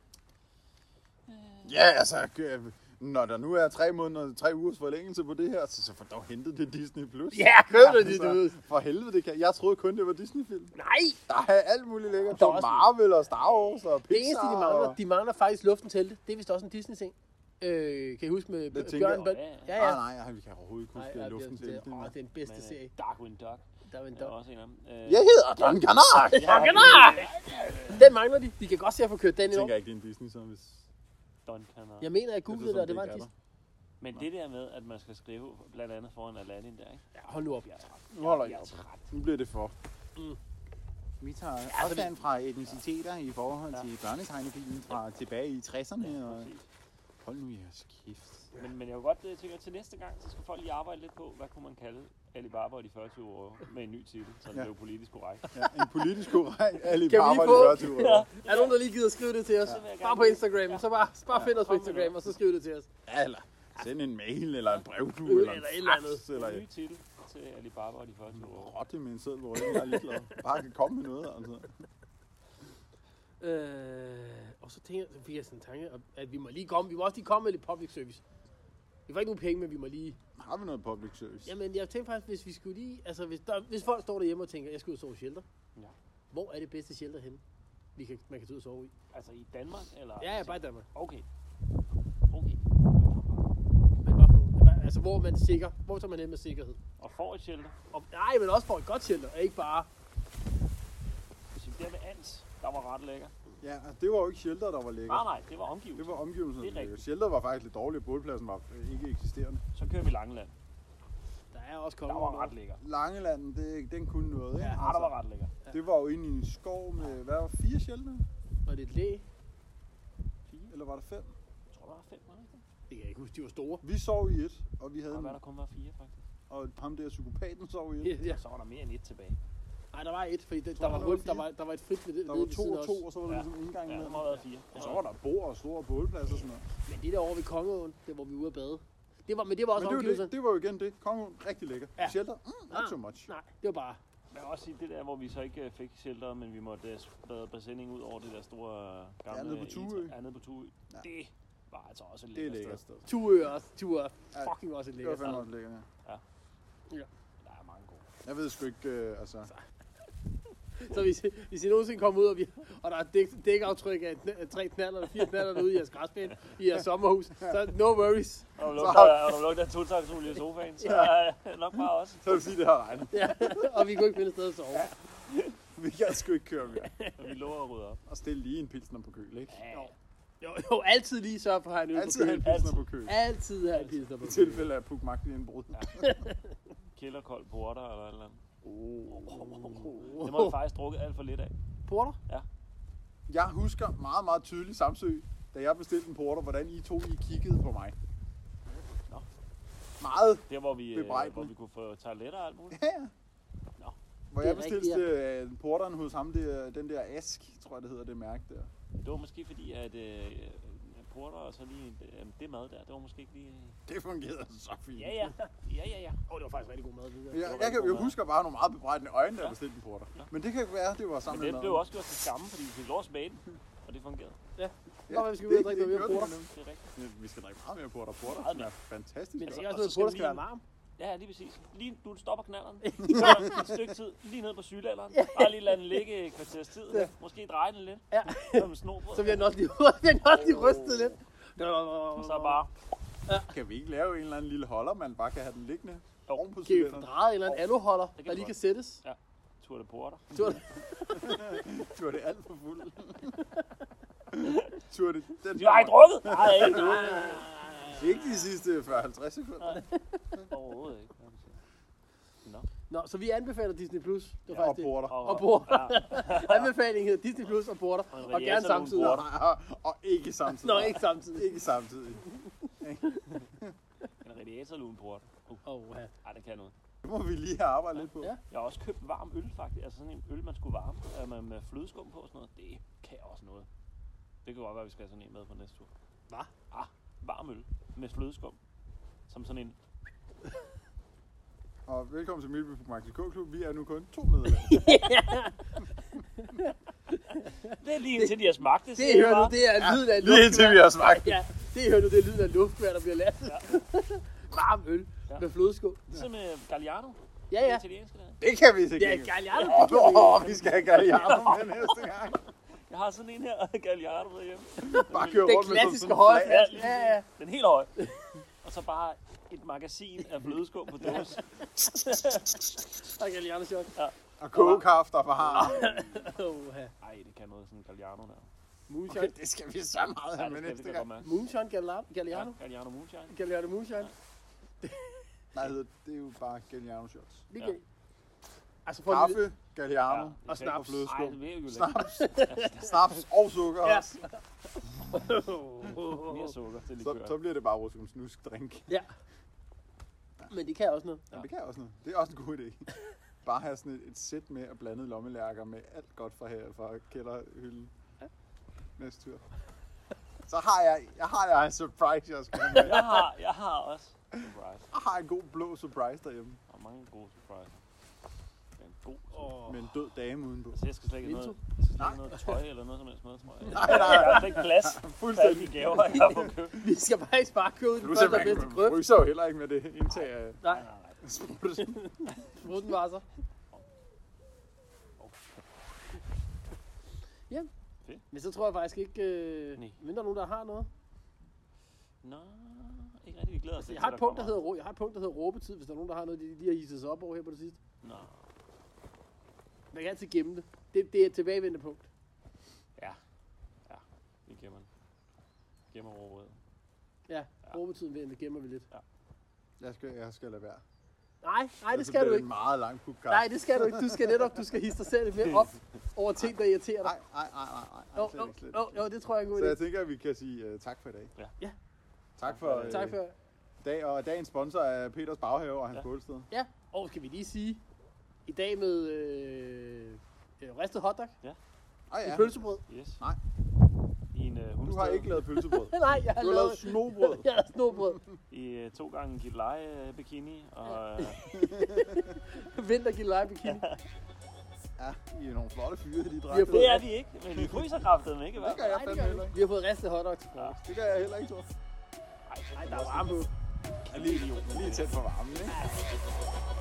Speaker 1: Ja, altså, øh, når der nu er tre måneder, tre ugers forlængelse på det her, så, så får dog hentet det Disney+. Plus. Altså,
Speaker 2: Ja,
Speaker 1: [LAUGHS]
Speaker 2: køb det, dit ud.
Speaker 1: For helvede, det kan. jeg troede kun, det var Disney-film.
Speaker 2: Nej,
Speaker 1: Der er alt muligt lækkert.
Speaker 2: Der
Speaker 1: Der
Speaker 2: er også-
Speaker 1: Marvel og Star Wars og Pixar.
Speaker 2: det eneste, de mangler,
Speaker 1: og-
Speaker 2: de mangler faktisk luften til det. Det er vist også en Disney-ting. Øh, kan I huske med
Speaker 1: tænker
Speaker 2: Bjørn?
Speaker 1: jeg.
Speaker 2: Bjørn?
Speaker 1: Nej,
Speaker 2: Ja, ja.
Speaker 1: Ah, nej, nej, vi kan overhovedet ikke huske, det er luften til.
Speaker 2: det, åh, det er den bedste
Speaker 3: Men, øh,
Speaker 2: serie.
Speaker 3: Darkwing Duck
Speaker 2: Der er en
Speaker 3: er
Speaker 2: dog.
Speaker 3: også en af dem. Øh,
Speaker 1: Jeg hedder Don Ganak.
Speaker 2: Den mangler de. De kan godt se at få kørt den
Speaker 1: Jeg
Speaker 2: i år.
Speaker 1: tænker ikke, det er en Disney, så hvis...
Speaker 3: Don Canard.
Speaker 2: Jeg mener, at googlede
Speaker 1: sådan,
Speaker 2: det, og
Speaker 1: det
Speaker 2: det var en
Speaker 1: ikke er
Speaker 2: Disney.
Speaker 3: Men det der med, at man skal skrive blandt andet foran Aladdin der, ikke?
Speaker 2: Ja, hold nu op.
Speaker 3: Jeg er træt.
Speaker 1: Nu holder
Speaker 3: Jeg
Speaker 1: jeg
Speaker 3: er
Speaker 1: op.
Speaker 3: træt. Altså,
Speaker 1: Nu bliver det for.
Speaker 2: Mm.
Speaker 4: Vi tager
Speaker 2: afstand
Speaker 4: afstand fra etniciteter i forhold
Speaker 3: til
Speaker 4: til børnetegnefilmen fra tilbage i 60'erne. Og...
Speaker 3: Præcis.
Speaker 4: Hold nu jeres kæft.
Speaker 3: Men, men jeg kunne godt øh, tænke, at til næste gang, så skal folk lige arbejde lidt på, hvad kunne man kalde Alibaba og de 40 euro med en ny titel, så det
Speaker 1: Ja.
Speaker 3: blev politisk korrekt.
Speaker 1: Ja, en politisk [LAUGHS] korrekt
Speaker 2: Kan vi
Speaker 1: Alibaba
Speaker 2: lige
Speaker 1: i
Speaker 2: få?
Speaker 1: 40
Speaker 2: Ja.
Speaker 1: år.
Speaker 2: Er der nogen, der lige gider skrive det til os? Bare på Instagram. Så bare, bare find os på
Speaker 3: kom med
Speaker 2: Instagram,
Speaker 3: det.
Speaker 2: og så skriv det til os.
Speaker 1: Ja, eller send en mail, eller en brevdue,
Speaker 2: Eller
Speaker 1: eller en
Speaker 2: et eller andet.
Speaker 1: fax, eller
Speaker 3: En ny
Speaker 1: et
Speaker 3: titel til Alibaba og de 40 euro.
Speaker 1: rotte med en sæd, hvor jeg ikke er ligeglad. Bare kan komme med noget, altså.
Speaker 2: Øh, og så, tænker, jeg- så fik jeg sådan en tanke, om, at vi må lige komme. Vi må også lige komme med lidt public service. Vi får ikke nogen penge, men vi må lige...
Speaker 1: Har vi noget public service?
Speaker 2: Jamen, jeg tænkte faktisk, hvis vi skulle lige... Altså, hvis, der, hvis folk står derhjemme og tænker, jeg skal ud og sove i shelter.
Speaker 3: Ja.
Speaker 2: Hvor er det bedste shelter henne? Vi kan, man kan tage ud og sove i.
Speaker 3: Altså i Danmark, eller?
Speaker 2: Ja, ja, bare i Danmark.
Speaker 3: Okay. Okay.
Speaker 2: Men bare for, nogle- bare- altså, hvor er man sikker? Hvor tager man hen med sikkerhed?
Speaker 3: Og får et shelter.
Speaker 2: Og, nej, men også for et godt shelter, ikke bare...
Speaker 3: Så der ved Ans, der var ret lækker.
Speaker 1: Ja, altså, det var jo ikke shelter, der var
Speaker 3: Nej,
Speaker 1: lækkert.
Speaker 3: nej, det var omgivet.
Speaker 1: Det var omgivelserne.
Speaker 3: Ah. Det
Speaker 1: der var
Speaker 3: er
Speaker 1: lækkert.
Speaker 3: rigtigt.
Speaker 1: Shelter var faktisk lidt dårlig, bålpladsen var øh, ikke eksisterende.
Speaker 3: Så kører vi Langeland.
Speaker 2: Der er også
Speaker 3: Der
Speaker 2: kommet
Speaker 3: var ret lækker.
Speaker 1: Langelanden, det, den kunne noget, ikke?
Speaker 3: Ja, der var ret lækker.
Speaker 1: Det var jo inde i en skov med, hvad var det, fire shelter?
Speaker 2: Var det et læ?
Speaker 1: Eller var der fem?
Speaker 3: Jeg tror, der var fem, var der ikke det?
Speaker 2: Det kan jeg ikke huske, de var store.
Speaker 1: Vi sov i et, og vi havde
Speaker 3: Og
Speaker 1: en,
Speaker 3: hvad der kun var fire, faktisk.
Speaker 1: og ham der psykopaten sov i et.
Speaker 2: Ja.
Speaker 3: Så var der mere end et tilbage.
Speaker 2: Nej, der var et, fordi det,
Speaker 1: Tror du,
Speaker 2: der, var
Speaker 1: der
Speaker 2: hul,
Speaker 1: var
Speaker 2: der,
Speaker 1: fire?
Speaker 2: var, der var et frit ved,
Speaker 1: Der
Speaker 2: ved
Speaker 1: var
Speaker 2: ved
Speaker 1: to
Speaker 2: siden
Speaker 1: og
Speaker 2: også.
Speaker 1: to, og så var der
Speaker 3: Ja.
Speaker 1: ligesom indgang
Speaker 3: Ja,
Speaker 1: med.
Speaker 3: der må have været fire.
Speaker 1: Og så var der bord og store bålpladser og sådan noget.
Speaker 2: Men det der over ved Kongeåen, der hvor vi var ude at bade. Det var, men det var også
Speaker 1: Men det var,
Speaker 2: omgivelser.
Speaker 1: det, det var jo igen det. Kongen, rigtig lækker.
Speaker 2: Ja.
Speaker 1: Ja. Shelter, mm, not
Speaker 2: Ah.
Speaker 1: too much.
Speaker 2: Nej, det var bare...
Speaker 3: Jeg vil også sige, det der, hvor vi så ikke øh, fik shelteret, men vi måtte øh, sprede bassinet ud over det der store øh, gamle...
Speaker 1: Ja, nede på Tuø.
Speaker 3: egetræ- Ja, nede på Tuø.
Speaker 1: Ja.
Speaker 3: Det var altså også et
Speaker 1: Det er
Speaker 3: lækkert
Speaker 1: lækkert
Speaker 3: sted.
Speaker 1: sted.
Speaker 2: Tuø er også, Tuø er
Speaker 1: Ja,
Speaker 2: fucking også et
Speaker 1: Det var
Speaker 2: lækkert
Speaker 1: fandme
Speaker 2: sted.
Speaker 1: også lækkert, ja.
Speaker 3: Der er mange gode.
Speaker 1: Jeg ved sgu ikke, øh, altså...
Speaker 2: Så hvis, hvis I nogensinde kommer ud, og, vi, og der er dæk, dækaftryk af, kn- af tre knaller eller fire knaller ude i jeres græsplæne, i jeres sommerhus, så no
Speaker 1: [LAUGHS]
Speaker 2: worries.
Speaker 3: Og du lugter, og du lugter totaksolie i sofaen, så ja. nok bare også.
Speaker 1: Så vil jeg sige, det har regnet.
Speaker 2: Ja, og vi kunne ikke finde et sted at sove.
Speaker 1: Vi kan sgu ikke køre mere.
Speaker 3: Og vi lover at rydde op.
Speaker 1: Og stille lige en pilsner på køl, ikke?
Speaker 2: Jo, jo, [LAUGHS] jo altid lige sørge for at have en øl
Speaker 1: Altid have en
Speaker 2: kølen.
Speaker 1: pilsner på køl.
Speaker 2: Altid have en pilsner på
Speaker 1: I
Speaker 2: kølen.
Speaker 1: tilfælde af Puk Magten indbrud.
Speaker 3: Kælderkold porter eller et eller andet.
Speaker 1: oh,
Speaker 2: Oh.
Speaker 3: Det må vi faktisk drukke alt for lidt af.
Speaker 2: Porter?
Speaker 1: Jeg husker meget, meget tydeligt Samsø, da jeg bestilte en porter, hvordan I to I kiggede på mig.
Speaker 3: Nå.
Speaker 1: Meget.
Speaker 3: Der, hvor vi, øh,
Speaker 1: Bebrejdende.
Speaker 3: hvor vi kunne få toiletter og alt muligt.
Speaker 1: Ja, ja.
Speaker 3: Nå.
Speaker 1: Hvor
Speaker 2: Det er
Speaker 1: jeg bestilte
Speaker 2: rigtigt,
Speaker 1: øh, porteren hos ham, der, den der Ask, tror jeg det hedder, det mærke der.
Speaker 3: Det var måske fordi, at øh, porter og så lige øh, det mad der, det var måske ikke lige...
Speaker 1: Det fungerede altså så fint.
Speaker 3: Ja, ja. Ja, ja, ja.
Speaker 2: Åh, oh, det var faktisk rigtig god mad. Det
Speaker 1: Jeg,
Speaker 2: der.
Speaker 3: var
Speaker 1: jeg, kan,
Speaker 3: rigtig
Speaker 1: jeg
Speaker 3: god
Speaker 1: husker bare nogle meget bebrejdende øjne, der
Speaker 3: Ja.
Speaker 1: ja. bestilte en porter.
Speaker 3: Ja.
Speaker 1: Men det kan være, det var sammen
Speaker 3: Men det
Speaker 1: med
Speaker 3: blev
Speaker 1: noget.
Speaker 3: også gjort til skamme, fordi vi fik lov at smage den, og det fungerede.
Speaker 2: Nå, men vi skal ud og drikke noget mere
Speaker 1: gjorde
Speaker 2: porter.
Speaker 1: det nemlig.
Speaker 3: Det er rigtigt.
Speaker 1: Ja, Vi skal drikke meget mere porter. Porter
Speaker 3: Meget
Speaker 1: smager fantastisk
Speaker 2: Men det er
Speaker 1: godt.
Speaker 2: sikkert Altså, også
Speaker 3: Og
Speaker 2: noget, porter skal
Speaker 3: så skal vi
Speaker 2: være varm.
Speaker 3: lige- Ja, ja, lige præcis. Lige du stopper knalleren. Så er der et stykke tid, lige ned på sygalderen. Bare lige lade den ligge et kvarters tid.
Speaker 2: Ja.
Speaker 3: Måske dreje den lidt.
Speaker 2: Ja.
Speaker 3: Som en snobrød.
Speaker 2: Så bliver den også lige, [LAUGHS] bliver den også lige rystet lidt.
Speaker 3: Så bare
Speaker 1: Kan vi ikke lave en eller anden lille holder, man bare kan have den liggende
Speaker 3: Jo.
Speaker 1: oven på
Speaker 2: Kan vi
Speaker 1: cylinderen?
Speaker 2: få drejet en eller anden aluholder,
Speaker 3: kan
Speaker 2: der
Speaker 3: vi
Speaker 2: lige kan
Speaker 3: godt.
Speaker 2: sættes?
Speaker 3: tur det porter.
Speaker 2: Så
Speaker 1: Du er det alt for fuld. du er det... Den
Speaker 3: Du har ikke drukket? Nej, ikke nu.
Speaker 1: Ikke de sidste 40-50 sekunder.
Speaker 3: Overhovedet ikke. kan man sige.
Speaker 2: Nå, så vi anbefaler Disney+. Plus. Det var
Speaker 1: Ja, og
Speaker 2: faktisk det.
Speaker 1: porter.
Speaker 2: Og porter. [LAUGHS] Anbefalingen hedder Disney Plus og porter.
Speaker 3: en
Speaker 2: Og gerne
Speaker 3: radiator, nogle
Speaker 2: samtidig.
Speaker 3: porter.
Speaker 1: Nej, og, og ikke samtidig.
Speaker 2: Nå, ikke samtidig.
Speaker 1: Ikke samtidig.
Speaker 3: En radiator eller en porter. Uh,
Speaker 2: Oh, ja.
Speaker 3: ej, det kan noget.
Speaker 1: Det må vi lige have arbejdet lidt på.
Speaker 2: Ja.
Speaker 3: Jeg har også købt varm øl, faktisk. Altså sådan en øl, man skulle varme øh, med, med flødeskum på og sådan noget. Det kan også noget. Det kan godt være, at vi skal have sådan en med på næste tur.
Speaker 2: Hva?
Speaker 3: Ah, varm øl med flødeskum. Som sådan en...
Speaker 1: Og velkommen til Milby på Magdi K-klub. Vi er nu kun to medlemmer.
Speaker 3: Det er lige indtil de har smagt det.
Speaker 2: Det I
Speaker 3: siger jeg
Speaker 2: hører nu,
Speaker 3: bare.
Speaker 2: det er lyden af et
Speaker 1: Lige indtil vi
Speaker 2: luftvær.
Speaker 1: har smagt.
Speaker 2: Ja, det I hører nu, det er lyden af et luftvær, der bliver lastet. [LAUGHS] Varm øl
Speaker 3: Ja.
Speaker 2: med flødeskum.
Speaker 3: Ligesom med Galliano.
Speaker 2: Ja, ja.
Speaker 3: Det italienske der.
Speaker 1: Det kan vi
Speaker 2: Det
Speaker 1: sikkert
Speaker 2: er
Speaker 1: ikke.
Speaker 2: Galliano.
Speaker 1: Åh, oh, vi skal have Galliano med næste gang.
Speaker 3: Jeg har sådan en her [LAUGHS] Galliano derhjemme.
Speaker 1: Bare køre
Speaker 2: Den
Speaker 1: rundt med sådan
Speaker 2: klassiske
Speaker 1: en
Speaker 2: højre.
Speaker 1: flag.
Speaker 3: Ja, lige
Speaker 2: Ja, ja.
Speaker 3: Den helt
Speaker 2: [LAUGHS]
Speaker 3: høje. Og så bare et magasin af flødeskum på dåse.
Speaker 2: Der er Galliano shot.
Speaker 1: Og kogekaft og bare.
Speaker 2: Oh, ja.
Speaker 3: Ej, det kan noget sådan en Galliano der.
Speaker 2: Moonshine.
Speaker 1: Det skal vi så meget
Speaker 3: Ja,
Speaker 1: have med
Speaker 3: det skal
Speaker 1: næste
Speaker 3: vi godt
Speaker 1: gang.
Speaker 3: mærke.
Speaker 2: Moonshine Galliano.
Speaker 3: Ja,
Speaker 2: Galliano.
Speaker 3: Galliano Moonshine.
Speaker 2: Galliano Moonshine.
Speaker 1: Nej, det hedder- det er jo bare Galliano shots.
Speaker 2: Det
Speaker 3: Ja.
Speaker 2: kan Altså for en lille...
Speaker 1: Kaffe, Galliano,
Speaker 3: Ja,
Speaker 1: og snaps.
Speaker 3: Ej,
Speaker 1: Flødeskum.
Speaker 3: det er jo lækkert.
Speaker 1: Snaps. Snaps og sukker
Speaker 2: Ja.
Speaker 1: også.
Speaker 3: Mere sukker til
Speaker 1: Så,
Speaker 3: likør.
Speaker 1: så bliver det bare russisk snusk drink.
Speaker 2: Ja. men det kan også noget. [LAUGHS]
Speaker 1: Ja. Det kan jeg også noget. Det er også en god idé. [LAUGHS] Bare have sådan et, et sæt med at blandet lommelærker med alt godt fra her, fra kælderhylden. Ja. Næste tur. Så har jeg, jeg har jeg en surprise, jeg skal have med.
Speaker 3: Jeg har, jeg har også surprise.
Speaker 1: Jeg har en god blå surprise derhjemme.
Speaker 3: Der er mange gode surprises. Det er en god surprise.
Speaker 2: Oh.
Speaker 1: Med en død dame udenpå.
Speaker 3: Altså, jeg skal slet ikke have
Speaker 2: Minto?
Speaker 3: noget, jeg skal slet ikke have noget tøj eller noget som helst med, tror jeg.
Speaker 1: Nej, nej, nej.
Speaker 3: Jeg har slet ikke plads til alle
Speaker 1: [LAUGHS] Fuldstændig.
Speaker 3: de gaver, jeg har fået købt.
Speaker 2: Vi skal faktisk bare købe den
Speaker 1: Du
Speaker 2: første og
Speaker 1: ser,
Speaker 2: bedste
Speaker 1: man
Speaker 2: grøft.
Speaker 1: fryser jo heller ikke med det indtag
Speaker 2: [LAUGHS]
Speaker 1: af
Speaker 2: Nej,
Speaker 3: Nej, nej, nej.
Speaker 1: sprutten.
Speaker 2: mod den var så. Ja.
Speaker 3: Fedt.
Speaker 2: Men så tror jeg faktisk ikke, øh,
Speaker 3: Nej.
Speaker 2: mindre nogen, der har noget.
Speaker 3: Nå, ikke rigtig. Vi glæder os
Speaker 2: Så
Speaker 3: til,
Speaker 2: jeg har
Speaker 3: til,
Speaker 2: et punkt, der
Speaker 3: kommer-
Speaker 2: hedder, rå- jeg har et punkt, der hedder råbetid, hvis der er nogen, der har noget, de lige har hisset sig op over her på det sidste.
Speaker 3: Nå,
Speaker 2: Man kan altid gemme det. Det, det er et tilbagevendende punkt.
Speaker 3: ja. Ja, vi gemmer den. Gemmer råbrødet.
Speaker 2: Ja, ja. råbetiden vender, gemmer vi lidt.
Speaker 1: Jeg skal, jeg skal lade være.
Speaker 2: Nej, nej, det
Speaker 1: Ellers
Speaker 2: skal
Speaker 1: bliver
Speaker 2: du
Speaker 1: det
Speaker 2: ikke.
Speaker 1: en meget lang podcast.
Speaker 2: Nej, det skal du ikke. Du skal netop, du skal hisse dig selv lidt mere op over ting, der irriterer dig.
Speaker 1: Nej, nej, nej, nej, nej,
Speaker 2: Jo,
Speaker 1: nej. slet
Speaker 2: jo,
Speaker 1: ikke, slet
Speaker 2: jo,
Speaker 1: ikke.
Speaker 2: jo, det tror jeg er en god
Speaker 1: Så jeg
Speaker 2: idé.
Speaker 1: tænker, at vi kan sige uh, tak for i dag.
Speaker 3: Ja.
Speaker 2: Ja.
Speaker 1: Tak for, uh,
Speaker 2: Tak for...
Speaker 1: dag, og dagens sponsor er Peters Baghave og hans
Speaker 3: Ja.
Speaker 1: ja. bålsted.
Speaker 2: Ja, og skal vi lige sige, i dag med øh, øh, ristet hotdog
Speaker 1: Åh
Speaker 2: ja.
Speaker 1: ja,
Speaker 2: i pølsebrød.
Speaker 3: Yes.
Speaker 1: Nej.
Speaker 3: I en uh,
Speaker 1: du har ikke lavet pølsebrød.
Speaker 2: nej, jeg har
Speaker 1: Du har lavet
Speaker 2: [LAUGHS] lavet...
Speaker 1: snobrød.
Speaker 2: Jeg har snobrød.
Speaker 3: I uh, to gange dit leje uh, bikini, og uh,
Speaker 2: Vintergilde bikini.
Speaker 1: Ja, I er nogle flotte fyre, de
Speaker 2: Vi har
Speaker 1: drejte.
Speaker 2: fået-
Speaker 3: det er de ikke, men de fryser kraftedeme ikke i
Speaker 1: Det
Speaker 3: hvert
Speaker 1: gør
Speaker 3: fald.
Speaker 1: jeg
Speaker 2: Nej, det
Speaker 1: fandme
Speaker 2: gør vi
Speaker 1: heller
Speaker 2: ikke.
Speaker 1: ikke.
Speaker 2: Vi har fået ristet hotdog til frokost.
Speaker 1: Det gør jeg heller ikke, tror jeg.
Speaker 2: Ej, der er varme på.
Speaker 1: Jeg er lige, jeg er lige tæt på varmen, ikke?